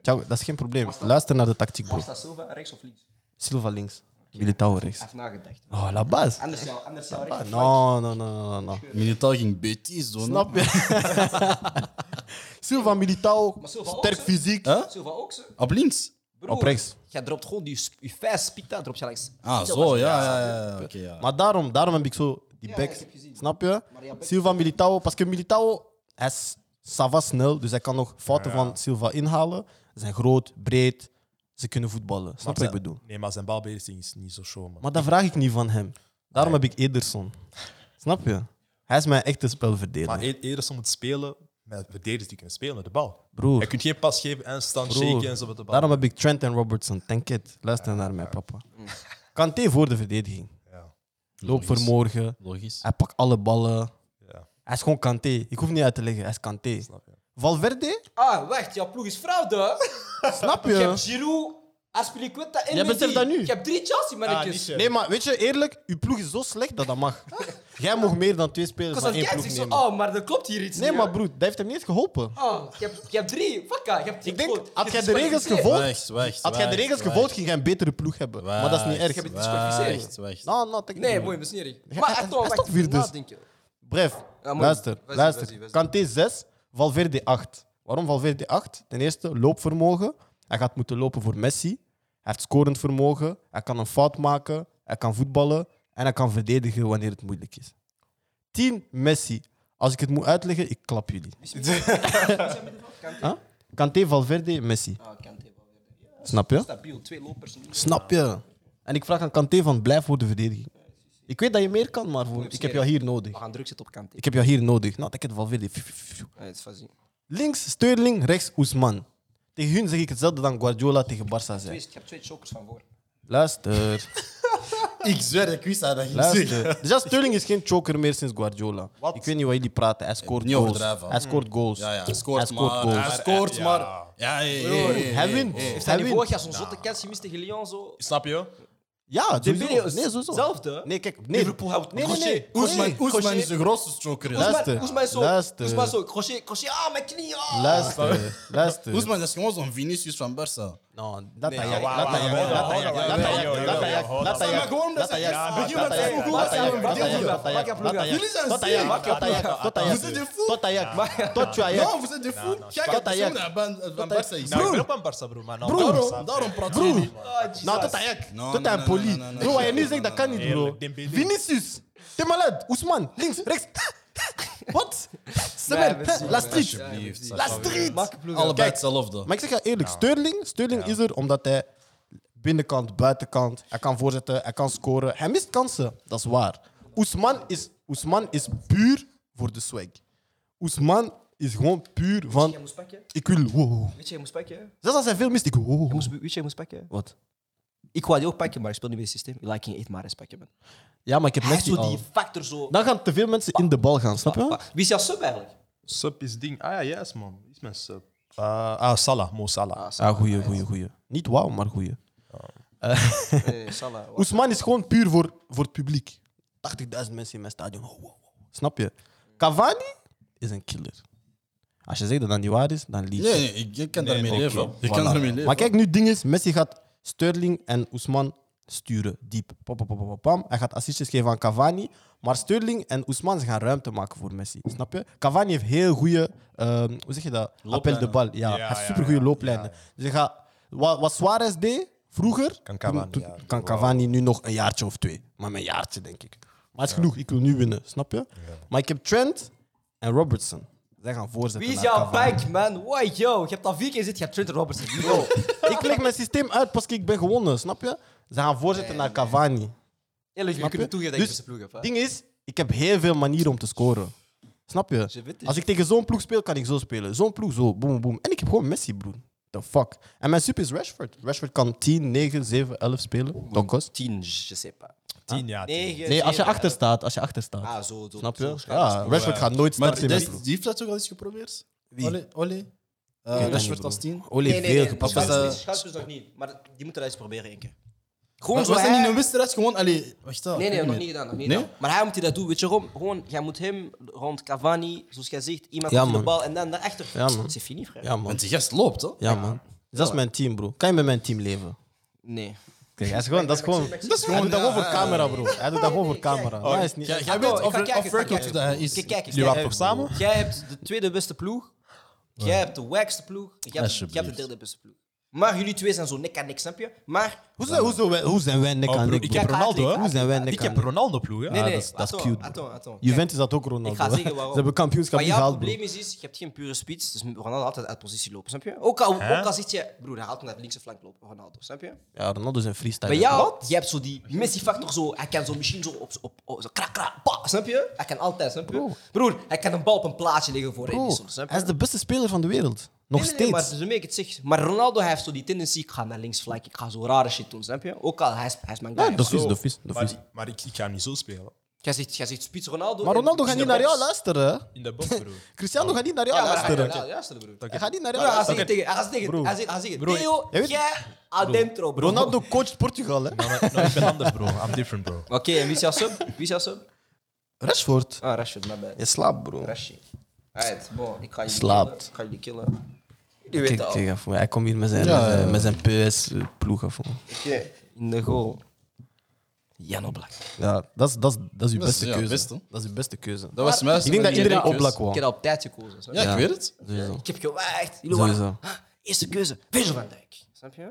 S1: Thiago, dat is geen probleem. Luister naar de tactiek, bro.
S2: Was dat Silva rechts of links?
S1: Silva links, Militao rechts.
S2: Hij heeft nagedacht.
S1: Oh, la base.
S2: Anders jou, anders jou rechts.
S1: Ah, No, no, no, no, no.
S4: Militao ging Betis doen. hè.
S1: Snap je? Silva, Militao,
S2: Maar Silva ook,
S1: sterk
S2: hè?
S1: fysiek.
S4: Huh?
S2: Silva ook zo.
S4: Op links?
S2: Broer,
S1: Op rechts.
S2: Jij dropt gewoon die sp- je vijf spita, drop je rechts.
S4: Ah, zo, ja, ja, ja. ja, Oké, ja.
S1: Maar daarom, daarom heb ik zo die
S2: Ja,
S1: backs.
S2: ik heb gezien.
S1: snap je?
S2: ja, backs-
S1: Silva Militao. Parce que Militao, hij is sava snel. Dus hij kan nog fouten van Silva inhalen. Ze zijn groot, breed. Ze kunnen voetballen. Snap je wat ik bedoel?
S3: Nee, maar zijn balbeheersing is niet zo show, man.
S1: Maar dat vraag ik niet van hem. Daarom heb ik Ederson. Snap je? Hij is mijn echte
S3: Maar
S1: spelverdeler.
S3: e- Ederson moet spelen met verdedigers die kunnen spelen met de bal.
S1: Broer.
S3: Je kunt geen pas geven en staan
S1: Broer,
S3: shaken en zo met de bal.
S1: Daarom heb ik Trent en Robertson. Denk het. Luister naar mij, papa. Kanté voor de verdediging.
S3: Mm. Ja.
S1: Loop voor morgen.
S4: Logisch.
S1: Hij pakt alle ballen.
S3: Ja.
S1: Hij is gewoon Kanté. Ik hoef niet uit te leggen. Hij is Kanté.
S3: je.
S1: Valverde?
S2: Ah, wacht, jouw ploeg is fraude. hè?
S1: Snap
S2: Je hebt
S1: je?
S2: Giroud, Aspilicueta en
S1: Jij beseft dat nu? Ah,
S2: Je hebt drie Chelsea mannetjes.
S1: Nee, maar weet je, eerlijk, uw ploeg is zo slecht dat dat mag. Jij mag meer dan twee spelers
S2: Ik was
S1: van
S2: aan
S1: één
S2: het
S1: ploeg
S2: kijken, ik zo,
S1: nemen.
S2: oh, maar er klopt hier iets
S1: Nee,
S2: niet,
S1: maar
S2: hè.
S1: broer, dat heeft hem niet geholpen.
S2: Oh, je hebt, je hebt drie, fakka. Je hebt
S1: Ik denk, had jij de regels gevolgd,
S4: Wacht, wacht.
S1: had jij de
S4: wacht,
S1: regels
S4: wacht.
S1: gevolgd, ging jij een betere ploeg hebben. Maar dat is niet
S4: Wacht,
S1: erg.
S2: heb het disqualificeerd.
S4: Wacht, wacht.
S1: Nou, nou, denk ik
S2: Nee,
S1: niet.
S2: mooi, dat is niet erg.
S1: Ja,
S2: Maar
S1: hij-
S2: echt, wacht,
S1: hij staat vierde.
S2: nadenken.
S1: Bref,
S2: maar-
S1: luister,
S2: Wesley, Wesley,
S1: luister.
S2: Wesley.
S1: Kanté 6, Valverde 8. Waarom Valverde 8? Ten eerste, loopvermogen. Hij gaat moeten lopen voor Messi. Hij heeft scorend vermogen. Hij kan een fout maken. Hij kan voetballen. En hij kan verdedigen wanneer het moeilijk is. 10, Messi. Als ik het moet uitleggen, ik klap jullie. Huh? Kanté, Valverde, Messi.
S2: Ah, Kante, wel weer. Ja,
S1: Snap je?
S2: Stabiel, twee lopers. niet.
S1: Snap je? En ik vraag aan Kanté van blijf voor de verdediging. Ik weet dat je meer kan, maar voor, ik heb jou hier
S2: We
S1: nodig.
S2: gaan druk zetten op Kante.
S1: Ik heb jou hier nodig. Nou, dat ik het Valverde.
S2: Ja, het is fazien.
S1: Links Sterling, rechts Oesman. Tegen hun zeg ik hetzelfde dan Guardiola tegen Barca zei.
S2: Ik heb twee chokers van voor.
S1: Luister,
S4: Ik zweer, ik wist dat dat ging
S1: luister. Dus ja, Sterling is geen choker meer sinds Guardiola. Ik weet niet waar jullie praten. Hij scoort
S4: Niet
S1: goals.
S4: overdrijven.
S1: Hij scoort goals.
S4: Ja, ja, hij scoort,
S1: Hij scoort
S4: maar,
S1: goals.
S4: Hij scoort, maar... Ja, hey, hey, hey, hey,
S1: Hij wint.
S2: Heeft hij
S1: Hij
S2: niet
S1: wint.
S2: vorig jaar zo'n zotte kans gemist tegen Lyon? Zo?
S6: Snap
S3: Nou,
S6: je?
S1: Ja, sowieso.
S2: Dembele is
S1: Nee, sowieso.
S2: hetzelfde, hè?
S1: Nee, kijk. Nee.
S6: Liverpool houdt-
S1: Nee, nee, nee.
S4: Oesman,
S2: Crochet.
S4: Oesman is de grootste stroker. ja.
S1: Luister.
S2: Oesman- Oesman is zo.
S1: Luister.
S2: Oesman is zo. Crochet, crochet. Ah, mijn knie. Ah.
S1: Luister, luister.
S4: Oesman is gewoon zo'n Vinicius van Barca.
S1: Nou, dat hij
S2: ja,
S1: jagen.
S2: wauw,
S1: Laat hij jagen. Laat hij jagen. Laat hij jagen. Laat hij jagen. Laat hij jagen.
S4: gewoon omdat
S1: Laat hij jagen.
S4: Begin
S1: Laat
S4: met
S1: hij
S4: zijn
S1: jagen.
S4: goed.
S1: Laat hij jagen.
S2: Maak
S1: Laat hij
S2: je
S1: jagen.
S2: ploeg,
S1: Laat hij
S2: maak je
S1: jagen.
S2: ploeg,
S1: Laat hij
S2: ja.
S1: jagen.
S4: Jullie zijn
S1: Tot hij jagen.
S4: ziek.
S1: Tot hij jagen. Tot hij
S4: Vous êtes des
S1: jagen.
S4: fous.
S1: Tot hij jagen. Tot je jagen.
S4: Non, vous êtes des fous. Kijk,
S1: Tot
S4: het
S1: hij
S4: is
S1: jagen.
S4: gewoon een band eh, van Barca is.
S6: Nou, ik ben ook aan Barça, bro. Maar nou,
S4: Daarom, daarom praten jullie niet.
S2: Ah,
S1: Nou, tot hij jagen.
S4: No,
S1: Tot
S4: no,
S1: hij
S4: no,
S1: een poli.
S4: no, no, no,
S1: Bro,
S4: no.
S1: wat je nu zegt, dat kan niet, bro.
S6: Eerlijk, Dembele.
S1: Vinicius. T'es malade. Oesman. Links, rechts. Wat?
S2: Nee, we zien
S1: Semen. La
S2: het.
S1: street.
S4: Alsjeblieft.
S1: La street.
S2: Maak je ploeg, ja.
S4: Allebei hetzelfde.
S1: Maar ik zeg je eerlijk, Sterling, Sterling is er omdat hij binnenkant, buitenkant, hij kan voorzetten, hij kan scoren. Hij mist kansen, dat is waar. Oesman is, Oesman is puur voor de swag. Oesman is gewoon puur van,
S2: Jij moest pakken.
S1: ik wil wow.
S2: Weet je, jij moest pakken.
S1: Zelfs als hij veel mist, ik wow, wow.
S2: Moest- Weet je, jij moest pakken. Wat? Ik wou die ook pakken, maar ik speel niet meer het systeem. Ik laat je echt maar eens pakken, man.
S1: Ja, maar ik heb
S2: Hij is
S1: Messi
S2: zo
S1: al. Nou?
S2: die factor zo.
S1: Dan gaan te veel mensen in de bal gaan, snap je?
S2: Wie is jouw sub eigenlijk?
S3: Sub is ding. Ah ja, yes man. Is mijn sub. Eh,
S6: ah, Salah. Mo Salah.
S3: Ah, goeie, goeie, goeie.
S1: Niet wauw, maar goeie. Eh,
S2: Nee, Salah. wa-
S1: Oesman is gewoon puur voor, voor het publiek. 80.000 mensen in mijn stadion. Wow, wow, wow. Snap je? Cavani is een killer. Als je zegt dat dat niet waar is, dan lieg je.
S4: Nee, nee, ik- ik kan daarmee leven. Ik kan
S1: Voilà.
S4: daarmee leven.
S1: Maar kijk, nu het ding is, Messi gaat Sterling en Ousman sturen, diep. Pam, pam, pam, pam, pam. Hij gaat assistjes geven aan Cavani. Maar Sterling en Ousman ze gaan ruimte maken voor Messi. Snap je? Cavani heeft heel goede, ehm, hoe zeg je dat? Appel de bal. Ja, hij heeft supergoeie looplijnen. Dus hij gaat, wat, wat Suarez deed vroeger,
S6: Kan Cavani,
S1: toen-
S6: ja.
S1: kan Cavani nu nog een jaartje of twee. Maar een jaartje, denk ik. Maar het is genoeg, ik wil nu winnen, snap je? Maar ik heb Trent en Robertson. Zij gaan voorzetten.
S2: Wie is
S1: naar
S2: jouw
S1: Cavani.
S2: back, man? Why, yo? Je hebt al vier keer zitten, je hebt Trent Robertson. Yo.
S1: Ik leg mijn systeem uit pas ik ben gewonnen, snap je? Ze gaan voorzetten naar Cavani.
S2: Eerlijk, je
S1: Snap
S2: kunt
S1: je?
S2: het toegeven dat
S1: Dus-
S2: je deze ploeg hebt. hè.
S1: Het ding is, ik heb heel veel manieren om te scoren. Snap
S2: Je
S1: je?
S2: weet het.
S1: Als ik tegen zo'n ploeg speel, kan ik zo spelen. Zo'n ploeg zo, boom, boom. En ik heb gewoon Messi, broer. The fuck. En mijn super is Rashford. Rashford kan 10, 9, 7, 11 spelen. Donkos.
S2: 10, je sais pas.
S6: Tien jaar.
S2: Negen,
S1: Nee, als je
S2: zeven,
S1: achter staat, als je achter
S2: hè. Ah,
S1: staat.
S2: zo, zo.
S1: Snap je?
S2: zo
S1: Ja,
S2: schaal-
S1: Rashford gaat nooit
S4: Maar
S1: starten
S4: die
S1: in mijn ploeg.
S4: die heeft dat ook al eens geprobeerd?
S1: Wie?
S4: Olé, Olé.
S1: Ik weet
S4: Eh,
S1: dat niet,
S4: Rashford
S1: broer.
S4: als tien.
S1: Ole
S2: Nee,
S1: heeft
S2: nee,
S1: veel
S2: nee.
S1: gepast.
S4: Schaal-
S2: Schouwspels- Schouwspels nog niet, maar die moeten dat eens proberen één keer. Gewoon
S4: Was
S2: zo
S4: was dat
S2: hij-
S4: niet een wedstrijd? Gewoon, allee, wacht daar.
S2: Nee, nee,
S4: Kom
S2: nog
S4: hier.
S2: niet gedaan. Nog niet
S4: Nee?
S2: gedaan. Maar hij moet die dat doen, weet je waarom? Gewoon, jij moet hem rond Cavani, zoals jij zegt, iemand
S1: Ja,
S2: op de
S1: man.
S2: bal en dan daarachter.
S1: Ja, man.
S2: C'est fini, frère.
S1: Ja, man.
S4: Want die gast loopt, hoor.
S1: Ja, man. Dat is mijn team, bro. Kan je met mijn team leven?
S2: Nee.
S1: Kijk, hij is gewoon, dat is gewoon.
S2: Dat
S1: is gewoon Oh, hij doet dat gewoon voor camera, bro. Hij doet dat gewoon voor camera. Dat is niet.
S4: Jij jij weet
S2: ik ga
S4: of-
S2: kijken,
S4: of
S2: ik ga
S4: Verkoop dat hij is.
S2: Kijk, kijk eens.
S6: Jullie waren
S2: Jij,
S6: toch samen?
S2: jij hebt de tweede beste ploeg, jij hebt de wackste ploeg, en jij hebt, jij hebt de
S4: Alsjeblieft.
S2: derde beste ploeg. Maar jullie twee zijn zo nek aan nek, snap je? Maar
S1: Hoe zijn, hoe zijn wij, hoe zijn wij nek
S6: Oh,
S1: aan
S6: bro,
S1: nek?
S6: ik
S1: bro?
S6: heb
S2: Kijk,
S6: Ronaldo, hè?
S1: Hoe zijn wij nek
S6: Ik
S1: aan
S6: heb
S1: nek?
S6: Ronaldo ploeg, hè?
S3: Ah,
S2: Nee, nee,
S1: dat is- dat is
S2: attends,
S1: cute, bro.
S2: attends, attends. Kijk,
S1: Juventus had ook Ronaldo.
S2: Ik ga zeggen
S1: hè?
S2: waarom.
S1: Ze hebben kampioenschap
S2: maar
S1: niet
S2: jouw
S1: gehaald, bro.
S2: probleem is, is, je hebt geen pure spits, dus Ronaldo altijd uit positie lopen, snap je? Ook al, ook al zit je, broer, hij haalt hem naar de linkse flank lopen, Ronaldo, snap je?
S1: Ja, Ronaldo is een freestyle.
S2: Bij jou, je hebt zo die Messi-factor zo. Hij kan zo misschien zo op, op, op zo krak, krak, pa, snap je? Hij kan altijd, snap je? Broer, hij kan een bal op een plaatje leggen voor
S1: Bro,
S2: Edison, snap je?
S1: hij is de beste speler van de wereld. Nog
S2: Nee, nee, nee,
S1: steeds.
S2: maar zo mee ik het zeg. Maar Ronaldo hij heeft zo die tendentie, ik ga naar links flank, ik ga zo rare shit doen, snap je? Ook al, hij is, hij is mijn guy.
S1: Ja, dat is dus
S2: man.
S1: vies, dat is vies, dat
S6: Maar,
S1: is vies.
S6: die- maar ik, ik ga niet zo spelen.
S2: Jij zegt, jij zegt spits Ronaldo.
S1: Maar
S2: en-
S1: Ronaldo gaat
S2: in
S1: niet
S2: de
S1: naar jou
S2: box.
S1: luisteren. hè?
S6: In de box, bro.
S1: Cristiano gaat niet naar jou
S2: Ja, maar hij gaat
S1: luisteren.
S2: naar jou luisteren, broer.
S1: Hij gaat niet naar
S2: Broer,
S1: jou
S2: hij
S1: luisteren.
S2: gaat zeggen tegen, hij gaat zeggen, hij gaat zeggen, Theo,
S1: jij weet-
S2: jij adentro, bro.
S1: Ronaldo coacht Portugal, hè?
S6: Nou, nou, nou, ik ben anders, bro. I'm different, bro.
S2: Oké, en wie is jouw sub? Wie is jouw sub?
S1: Rashford.
S2: Ah, Rashford, my bad.
S1: Je slaapt, bro.
S2: Rashi. Alright, bon, ik ga je
S1: Slaapt.
S2: killen. Ik ga je killen. Jullie
S1: Kijk,
S2: weten al.
S1: kijk even. Hij komt hier met zijn, met zijn- met zijn PS-ploeg af. man.
S2: Oké. In de goal. Jan Oblak.
S1: Ja, dat is, dat is, dat is uw
S4: Dat is-
S1: beste
S4: ja,
S1: keuze.
S4: best, hè?
S1: dat is uw beste keuze.
S4: Dat was mijn
S1: Ik denk dat
S4: eerste
S1: iedereen
S4: keus.
S1: op Black
S2: Ik
S1: wou.
S2: heb op tijd gekozen. snap je?
S4: Ja, ik weet het.
S1: Sowieso.
S2: Ik heb gewaagd. Jullie
S1: Sowieso.
S2: waren- Ah, Eerste keuze. Virgil van Dijk. Snap je?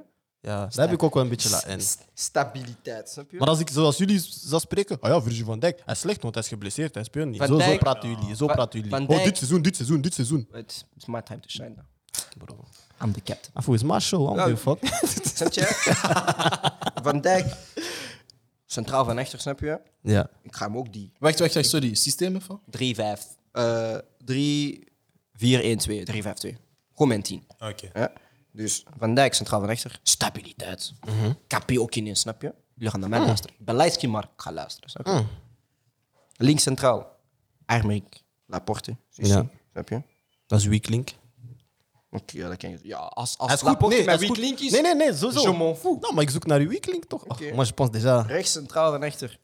S1: Ja, daar heb ik ook wel een beetje laat in.
S2: S- Stabiliteit. Snap je?
S1: Maar als ik zoals jullie zou spreken, ah ja, Virgil van Dijk, hij is slecht, want hij is geblesseerd, hij speelt niet.
S2: Van
S1: Zo, zo
S2: Dijk-
S1: praten jullie, zo
S2: Van-
S1: praten jullie.
S2: Van
S1: Oh,
S2: Dijk-
S1: dit seizoen, dit seizoen, dit seizoen.
S2: Het is my time to shine now.
S1: Bro.
S2: I'm the captain.
S1: Afo is maar show, I don't give a fuck.
S2: Snap je? Van Dijk. Centraal van achter, snap je?
S1: Ja.
S2: Ik ga hem ook die.
S4: Wacht, wacht, wacht, sorry. Systeem even?
S2: 3-5. eh 3-4-1-2. 3-5-2. Gewoon mijn 10.
S6: Oké.
S2: Ja. Dus Van Dijk, centraal van rechter. Stabiliteit.
S1: Mhm.
S2: Kapi ook in, snap je? Jullie gaan naar
S1: Ah.
S2: mij luisteren. Ik ben Leidski, maar ik ga luisteren. Snap je? Links centraal. Armerik, Laporte. Sissi,
S1: Ja.
S2: Snap je?
S1: Dat is Weeklink.
S2: Oké, ja, dat ken je. Ja, als, als
S1: Hij is goed.
S2: Laporte
S1: Nee,
S2: mijn
S1: hij is goed.
S2: weak link is,
S1: Nee, nee, nee, sowieso.
S2: je m'en fous.
S1: Nou, maar ik zoek naar uw weeklink toch? Ach,
S2: Oké.
S1: Maar je past déjà.
S2: rechts centraal van rechter.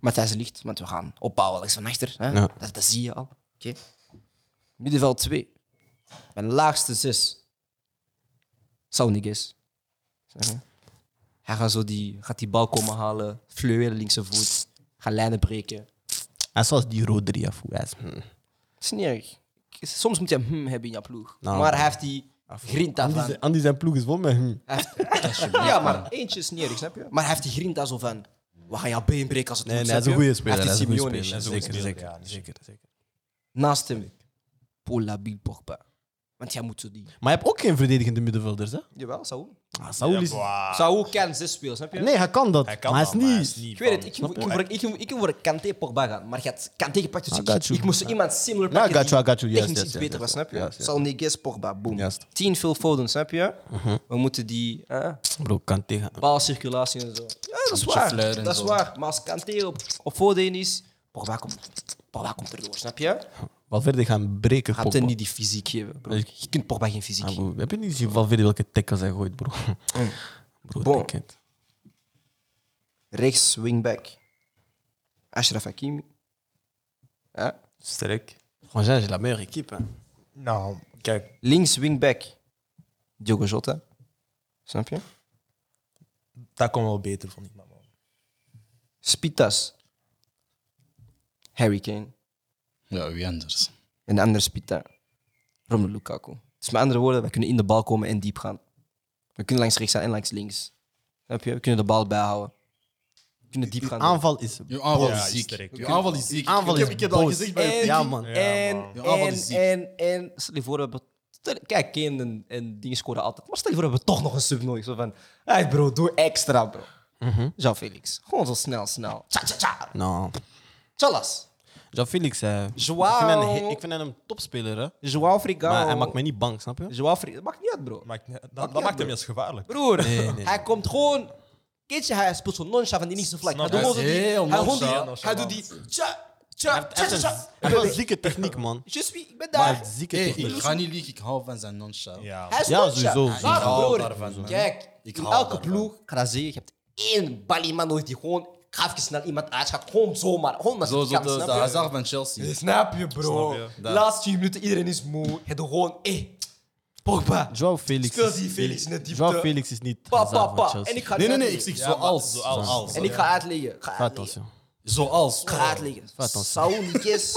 S2: Matthijs ligt, want we gaan opbouwen links van achter. Hè?
S1: Ja.
S2: Dat, dat zie je al. Oké. Middenveld 2. Mijn laagste 6. Sauniges. Hij gaat, zo die, gaat die bal komen halen, fleuren linkse voet, gaat lijnen breken.
S1: En zoals die Rodri af. hmm.
S2: Het is niet erg. Soms moet je een hmm hebben in je ploeg.
S1: Nou.
S2: maar hij heeft die grinta
S1: Andy,
S2: van. Ah,
S1: zijn- Andy zijn ploeg is vol met hem.
S2: Hij heeft- ja, maar eentje is niet erg, snap je? Maar hij heeft die grinta zo van... We gaan jouw been breken als het
S1: Nee,
S2: moet,
S1: nee, hij is
S2: snap
S1: een goede
S2: je?
S1: speler.
S2: Hij
S1: Hij
S2: heeft
S1: is
S2: die
S1: een goede
S2: Simeone.
S1: speler.
S3: is een goede
S1: Zeker, zeker,
S3: speler, ja, die is
S1: zeker, zeker.
S2: Naast hem, Paul Labiel Pogba. Want jij moet zo die...
S1: Maar je hebt ook geen verdedigende middenvelders, hè?
S2: Jawel, Saul.
S1: Ah, Saul is...
S2: Saul kan zes spelen, snap je?
S1: Nee, hij kan dat.
S3: Hij kan
S1: maar
S3: dat,
S1: hij is
S3: maar
S1: niet...
S2: Ik weet het, ik, ik, ik, word, ik, ik word Kanté Pogba gaan. Maar je had Kanté gepakt, dus
S1: I
S2: ik,
S1: got you.
S2: ik moest zo iemand similar
S1: Ja, I
S2: pakken
S1: got you, I
S2: die
S1: got you. Yes,
S2: technisch
S1: yes,
S2: iets
S1: yes,
S2: beter
S1: yes, yes.
S2: was, snap je?
S1: Yes, yes.
S2: Saul Neges, Pogba, boom.
S1: Juist. Mhm.
S2: 10 veel Foden, snap je? We moeten die... eh,
S1: Bro, kan tegen...
S2: balcirculatie en zo. Ja, dat is waar.
S4: fluiten en
S2: Dat is
S4: zo.
S2: waar. Maar als Kanté op, op voordeel is, Pogba komt, Pogba komt erdoor, snap je?
S1: Valverde gaan breken,
S2: Gaat hem
S1: Pogba.
S2: niet die fysiek geven. Bro. Je kunt Pogba geen fysiek
S1: Ah,
S2: geven.
S1: bro, Heb je niet gezien Valverde welke tackles hij gooit, bro? Bro,
S2: Bon.
S1: ticket.
S2: Rechts, wingback. Ashraf Hakimi. Ja.
S3: Sterk.
S1: Franchement, j'ai la meilleure équipe. Hein.
S3: Nou, kijk.
S2: Links, wingback. Diogo Jota. Snap je?
S3: Dat kon wel beter, vond ik. Maar man.
S2: Spitas. Harry Kane.
S4: Ja, wie anders?
S2: En de andere Spita. Romelu Lukaku. Dus met andere woorden, we kunnen in de bal komen en diep gaan. We kunnen langs rechts gaan en langs links. Snap je? We kunnen de bal bijhouden. We kunnen diep gaan.
S1: Aanval is.
S4: Je aanval
S3: Ja,
S4: is
S3: is
S4: ziek.
S3: sterk.
S4: Je aanval is ziek.
S1: Aanval
S4: ik
S1: is
S4: heb, ik heb dat
S1: boos.
S4: gezegd bij
S2: En-
S1: Ja, man.
S2: En,
S4: Ja,
S2: en,
S4: aanval is
S2: en,
S4: ziek.
S2: en, stel je voor, we hebben... stel- Kijk, Kane en, en dingen scoren altijd. Maar stel je voor, we hebben toch nog een sub nodig. Zo van, hey bro, doe extra, bro.
S1: Mhm.
S2: Jean-Felix. Gewoon zo snel, snel. Tja, tja, tja.
S1: Non.
S2: Tjallas.
S1: Jean-Felix, Nou, eh,
S2: Joao.
S1: ik, vind hem, ik vind hem een topspeler, hè?
S2: Joao
S1: Maar
S2: Frigao.
S1: hij maakt mij niet bang, snap je?
S2: Joao Frigao. Dat maakt niet uit, bro.
S3: Maakt niet- dat, dat maakt hem juist gevaarlijk.
S2: Broer, hij komt gewoon... Keetje, hij speelt zo nonchalant van die linkse vlak. Hij
S3: Snap
S2: doet
S3: je?
S2: gewoon zo die...
S4: Hij
S2: Hij
S4: is heel
S2: gewoon die...
S3: nonchalant.
S2: Hij doet die... Tja, tja, tja, tja, tja.
S1: Hij heeft een zieke techniek, man.
S2: Je suis, ik ben
S1: Hij
S2: daar.
S1: heeft zieke
S4: Hey,
S1: techniek.
S4: ik ga niet liegen, ik hou van zijn nonchalant.
S3: Ja,
S2: Hij is
S1: Ja,
S2: nonchalant.
S1: sowieso, sowieso.
S2: Maar
S4: Ik hou
S2: broer,
S4: daarvan, man.
S2: Kijk,
S4: Ik
S2: in
S4: hou
S2: elke
S4: daarvan.
S2: ploeg kan dat zeggen, je hebt één balieman nodig die gewoon... Ik ga even snel iemand uitschakelen. Gewoon zomaar. Gewoon maar
S4: Zo, zo de, de
S2: snap je?
S4: Hazard van Chelsea.
S2: Snap je, bro.
S3: Snap
S4: Dat.
S2: Laatste 10 minuten, iedereen is moe. Je doet gewoon... Hé, Pogba.
S1: Joao Felix.
S2: Speel
S1: is
S2: die
S1: niet-
S2: Felix in de diepte.
S1: Joao Felix is niet.
S2: Pa, pa,
S1: Hazard van
S2: pa.
S1: Chelsea.
S2: En ik ga...
S4: Nee, nee, nee,
S2: uitleggen.
S4: ik zeg zoals. Zoals.
S2: En ik ga uitleggen. Ik ga
S1: Fais
S2: uitleggen.
S1: attention.
S4: Zoals.
S2: Gaat liggen.
S1: attention.
S2: Saul Niguez,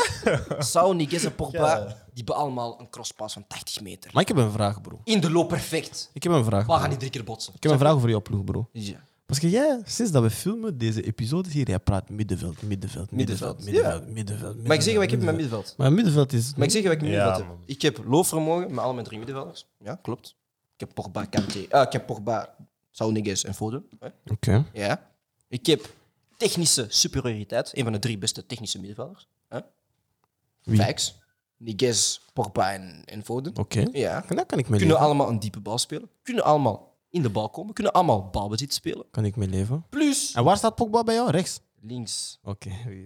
S2: Saul Niguez en Pogba, die hebben allemaal een crosspass van 80 meter.
S1: Maar ik heb een vraag, bro.
S2: In de loop perfect.
S1: Ik heb een vraag.
S2: We
S1: bro.
S2: gaan niet drie keer botsen.
S1: Ik heb een vraag over jouw ploeg, bro.
S2: Ja.
S1: Parce que jij, sinds dat we filmen, deze episodes hier, jij praat middenveld, middenveld, middenveld,
S2: Middenveld,
S1: middenveld, middenveld.
S2: Maar ik zeg je wat ik heb in mijn middenveld.
S1: Maar middenveld is...
S2: Maar ik zeg je wat ik in mijn
S3: Ja,
S2: middenveld heb. Ik heb loopvermogen met alle mijn drie middenvelders. Ja, klopt. Ik heb Pogba, Kante. eh, ik heb Pogba, Saul Niguez en Foden. Hè?
S1: Oké.
S2: Ja. Ik heb technische superioriteit. Een van de drie beste technische middenvelders. Hè?
S1: Wie?
S2: Facts. Niguez, Pogba en, en Foden.
S1: Oké.
S2: Ja.
S1: Daar kan ik mee
S2: kunnen
S1: leven.
S2: allemaal een diepe bal spelen. Kunnen allemaal in de bal komen. Kunnen allemaal balbezit spelen.
S1: Kan ik mee leven.
S2: Plus
S1: En waar staat Pogba bij jou? Rechts?
S2: links.
S1: Oké. Okay.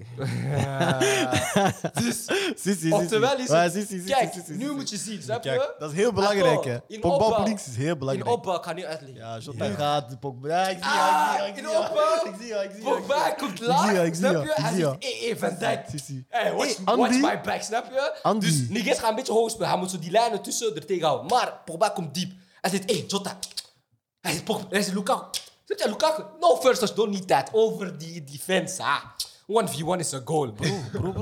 S2: Dus,
S1: Si, si,
S2: oftewel is
S1: Ja,
S2: het...
S1: si, si, si,
S2: kijk,
S1: si, si, si,
S2: nu
S1: si.
S2: moet je zien, snap
S3: Kijk,
S2: je?
S1: Dat is heel belangrijk, hè.
S2: Atto, in
S1: Pogba
S2: opbouw.
S1: op links is heel
S2: In
S1: belangrijk.
S2: opbouw, ik ga nu uitleggen.
S1: Ja, Jota gaat. Pogba... Ja, ik zie
S2: Ah,
S1: jou, ik zie
S2: in
S1: jou, ik zie jou.
S2: opbouw.
S1: Ik zie jou, ik zie jou. ik zie jou.
S2: Pogba komt
S1: Ik zie je, ik
S2: laag,
S1: zie
S2: snap
S1: je,
S2: je?
S1: ik
S2: Hij
S1: zie
S2: zegt,
S1: je.
S2: hey, hey, Van Dijk.
S1: Si, si.
S2: Hey, watch,
S1: Hey,
S2: watch
S1: Andy.
S2: my back, snap je?
S1: Andy.
S2: Dus Niguez gaat een beetje hoog spelen. Hij moet zo die lijnen tussen er tegen houden. Maar Pogba komt diep. Hij zegt, hey, Jota. Hij zegt, Pogba. Hij zegt, Lukaku. Zegt hij, Lukaku? No, first touch, don't need that. Over die defense, ah. 1v1 is a goal, bro.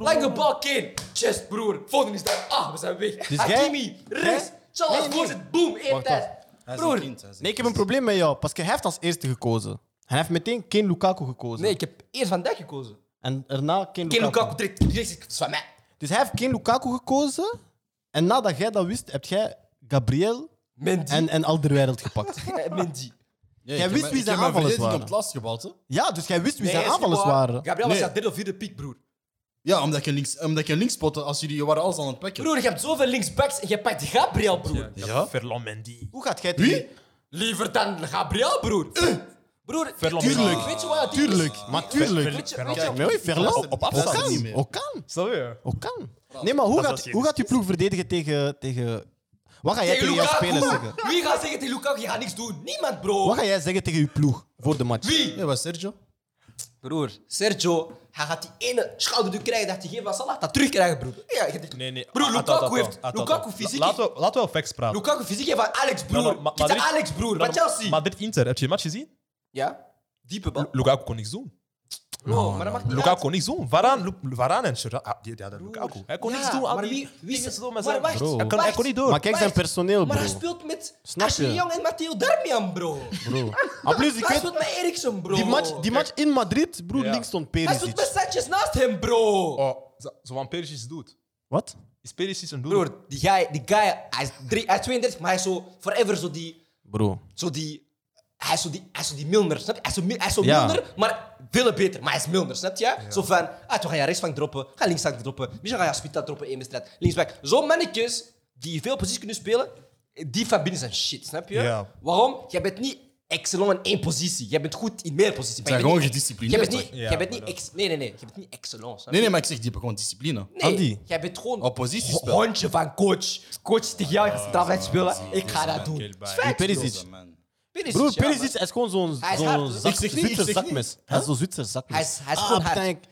S2: like the ball, Kane. Chest, broer. Foden is daar. Ah, we zijn weg.
S1: Dus jij-
S2: Hakimi, rechts. Charles, voorzet. Boom, één tijd.
S4: Hij is een
S2: Broer.
S4: kind, hij is een
S1: Nee, ik heb een probleem met jou. Parce que hij heeft als eerste gekozen. En hij heeft meteen Ken Lukaku gekozen.
S2: Nee, ik heb eerst Van Dijk gekozen.
S1: En daarna Ken
S2: Kane,
S1: Lukaku.
S2: Lukaku, direct. Direct, dat is van mij.
S1: Dus hij heeft Ken Lukaku gekozen. En nadat jij dat wist, heb jij Gabriel
S2: Mendy.
S1: en, en Alderwereld gepakt.
S2: Eh, Mendy.
S1: Jij
S4: Nee, ik heb
S1: wist
S4: mijn-
S1: wie
S4: ik
S1: zijn
S4: heb
S1: aanvallers
S4: mijn verdediging
S1: waren.
S4: op het last gebouwd, hè?
S1: ja, dus jij wist wie
S2: Nee,
S1: zijn
S2: is niet
S1: aanvallers
S2: waar.
S1: waren.
S2: Gabriel was
S4: Nee.
S2: jouw derde of vierde pick, broer.
S4: Ja, omdat je links, omdat je links spotte, als jullie je waren alles aan het pakken.
S2: Broer, je hebt zoveel linksbacks en je pakt Gabriel, broer.
S4: Ja?
S6: Ferland Mendy.
S1: Hoe gaat jij het
S4: Wie?
S2: Liever dan Gabriel, broer.
S1: Eh.
S2: Broer,
S3: Verloren.
S4: Tuurlijk.
S2: Weet je wat? die-
S4: Tuurlijk, maar
S2: Weet
S4: tuurlijk.
S2: je, weet je,
S4: Kijk, mooi,
S1: Verland?
S4: Op
S1: Ook
S4: afstand niet
S1: kan.
S4: meer.
S1: Ook kan.
S6: Snap je?
S1: Ook kan. Nee, maar hoe gaat,
S3: was je
S1: hoe gaat je ploeg verdedigen tegen... tegen... Wat ga jij tegen,
S2: tegen
S1: jouw
S2: Lukaku.
S1: spelers zeggen?
S2: Wie gaat zeggen tegen Lukaku, je gaat niks doen? Niemand, bro.
S1: Wat ga jij zeggen tegen je ploeg voor de match?
S2: Wie?
S4: Ja, was Sergio?
S2: Broer, Sergio, hij gaat die ene schouderduw krijgen dat hij geeft aan Salah. Dat terugkrijgen, broer. Ja, je-
S3: Nee, nee.
S2: Broer,
S3: Ah,
S2: Lukaku
S3: ah, ah, ah,
S2: heeft...
S3: ah, ah, ah.
S2: Lukaku fysiek...
S3: Laten we, laten we wel facts praten.
S2: Lukaku fysiek heeft van Alex, broer.
S3: Nou, nou, Ma-
S2: Kita
S3: Madrid-
S2: Alex, broer. Van
S3: Nou,
S2: Chelsea.
S3: Madrid-Inter, heb je die match gezien?
S2: ja? Diepe bal.
S3: Lukaku kon niks doen.
S2: Bro, maar dat mag niet
S3: Lukaku
S2: uit.
S3: kon niks doen. Varaan, Lu- Varaan en Gerrard, ah, die, die hadden Lukaku. Hij kon
S2: Ja,
S3: niks doen. Al
S2: maar
S3: die
S2: wie- wie-
S3: dingen doen
S2: maar
S3: met zijn-
S2: wacht,
S3: Bro, hij, kon,
S2: wacht.
S3: hij kon niet door.
S1: Maar kijk zijn
S2: Wacht,
S1: personeel,
S2: Maar hij
S1: bro.
S2: speelt met
S1: Snap
S2: Ashley
S1: je?
S2: Young en Matteo Darmian, bro.
S1: bro. En plus, ik
S2: Hij
S1: weet...
S2: speelt met Eriksen, bro.
S1: Die match, die match in Madrid, broer,
S3: Ja.
S1: links stond
S2: Hij speelt met
S1: Perisic.
S2: Sanchez naast hem, bro.
S3: Oh, zo- zoals Perisic doet.
S1: Wat?
S3: Is Perisic een doel?
S2: Broer, die guy, die guy hij, is drie, hij is 32, maar hij is zo forever zo die...
S1: Bro.
S2: Zo die hij is zo die, hij is zo die Milner, snap je? Hij is zo, mi- hij is zo
S1: Ja.
S2: Milner, maar veel beter. Maar hij is Milner, snap je? Zo van, ah, toen ga je rechtsvang droppen, ga linksvang droppen, misschien ga je Spita droppen, één wedstrijd, linksback. Zo'n mannetjes die veel posities kunnen spelen, die van binnen zijn shit, snap je?
S3: Ja.
S2: Waarom? Jij bent niet excellent in één positie. Jij bent goed in meer posities. maar je bent
S4: zijn gewoon
S2: niet-
S4: gedisciplineerd,
S2: Jij bent niet,
S4: toch?
S2: jij
S3: Ja,
S2: bent
S3: maar
S2: niet ex- nee, nee, nee. Jij bent niet excellent, snap
S4: Nee,
S2: je?
S4: nee, maar ik zeg, die hebben gewoon discipline. hein. Ah,
S2: Nee,
S1: Andy.
S2: jij bent gewoon
S4: Op positiespel.
S2: hondje van coach. Coach is tegen jou, je gaat centraalveld spelen. Ik ga dat doen.
S3: Kelbaar.
S2: Is facts,
S1: Perisic.
S2: bro.
S4: Ja, man.
S2: Perisic,
S1: Broer,
S2: ja, man.
S1: Perisic hij is gewoon zo'n
S2: Hij is
S1: zo'n
S2: hard, hoor.
S1: zak-
S4: Ik zeg niet, ik
S1: Zwitser
S4: zeg niet.
S1: zakmes. Hij is zo'n Zwitser zakmes.
S2: Hij is- hij is
S1: Ah,
S2: gewoon hard.
S1: bedankt.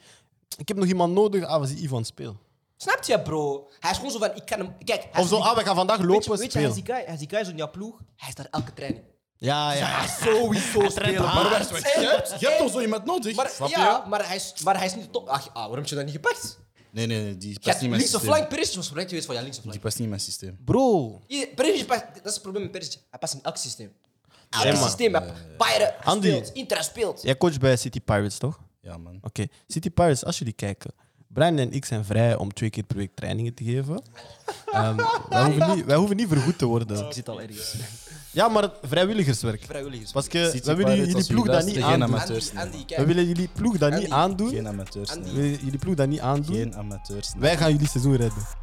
S1: Ik heb nog iemand nodig, ah, we zien Ivan speel.
S2: Snap je, bro? Hij is gewoon zo van, ik kan hem... Kijk, hij
S1: Of
S2: is
S1: zo,
S2: die-
S1: ah, we gaan vandaag
S2: Weet je,
S1: lopen,
S2: weet je, hij is
S1: speel.
S2: die guy, hij is die guy zo in jouw ploeg. Hij is daar elke training.
S1: Ja,
S2: Hij
S1: ja.
S2: is sowieso spelen, bro.
S4: Maar wacht, wacht, jij hebt- jij hebt toch zo iemand nodig?
S2: Maar,
S4: Snap je?
S2: ja, maar hij, is, maar hij is niet top. Ach, ah, waarom heb je dat niet gepakt?
S4: Nee, nee, nee, die
S2: Je
S4: past
S2: hebt
S4: niet in mijn
S2: linkse
S4: systeem.
S2: flank, Perisic was project geweest van jouw linkse flank.
S4: Die past niet in mijn systeem.
S1: Bro,
S2: Ieder- Perisic, past- dat is het probleem met Perisic. Hij past in elk systeem. Elk
S1: man.
S2: systeem. Hij Bayern hij
S1: Andy.
S2: speelt, Inter hij speelt.
S1: jij coacht bij City Pirates, toch? Oké,
S4: Ja, man.
S1: City Pirates, als jullie kijken. Brian en ik zijn vrij om twee keer per week trainingen te geven. Ehm, wij, hoeven niet, wij hoeven niet vergoed te worden.
S2: Ik zit al ergens.
S1: Ja, maar het vrijwilligerswerk.
S2: Vrijwilligers.
S1: Parce que
S4: City
S1: wij willen
S4: Pirates,
S1: jullie
S4: als
S1: ploeg
S4: jullie
S1: dat niet
S4: luisteren, geen
S1: aandoen.
S2: Andy,
S4: amateur. Amateurs,
S2: Andy,
S1: We
S2: kijk.
S1: willen jullie ploeg dat
S2: Andy.
S1: niet aandoen.
S4: Geen amateurs.
S2: Andy.
S4: Nee.
S1: We willen jullie ploeg dat niet aandoen.
S4: Geen amateurs. Nee.
S1: Wij gaan jullie seizoen redden.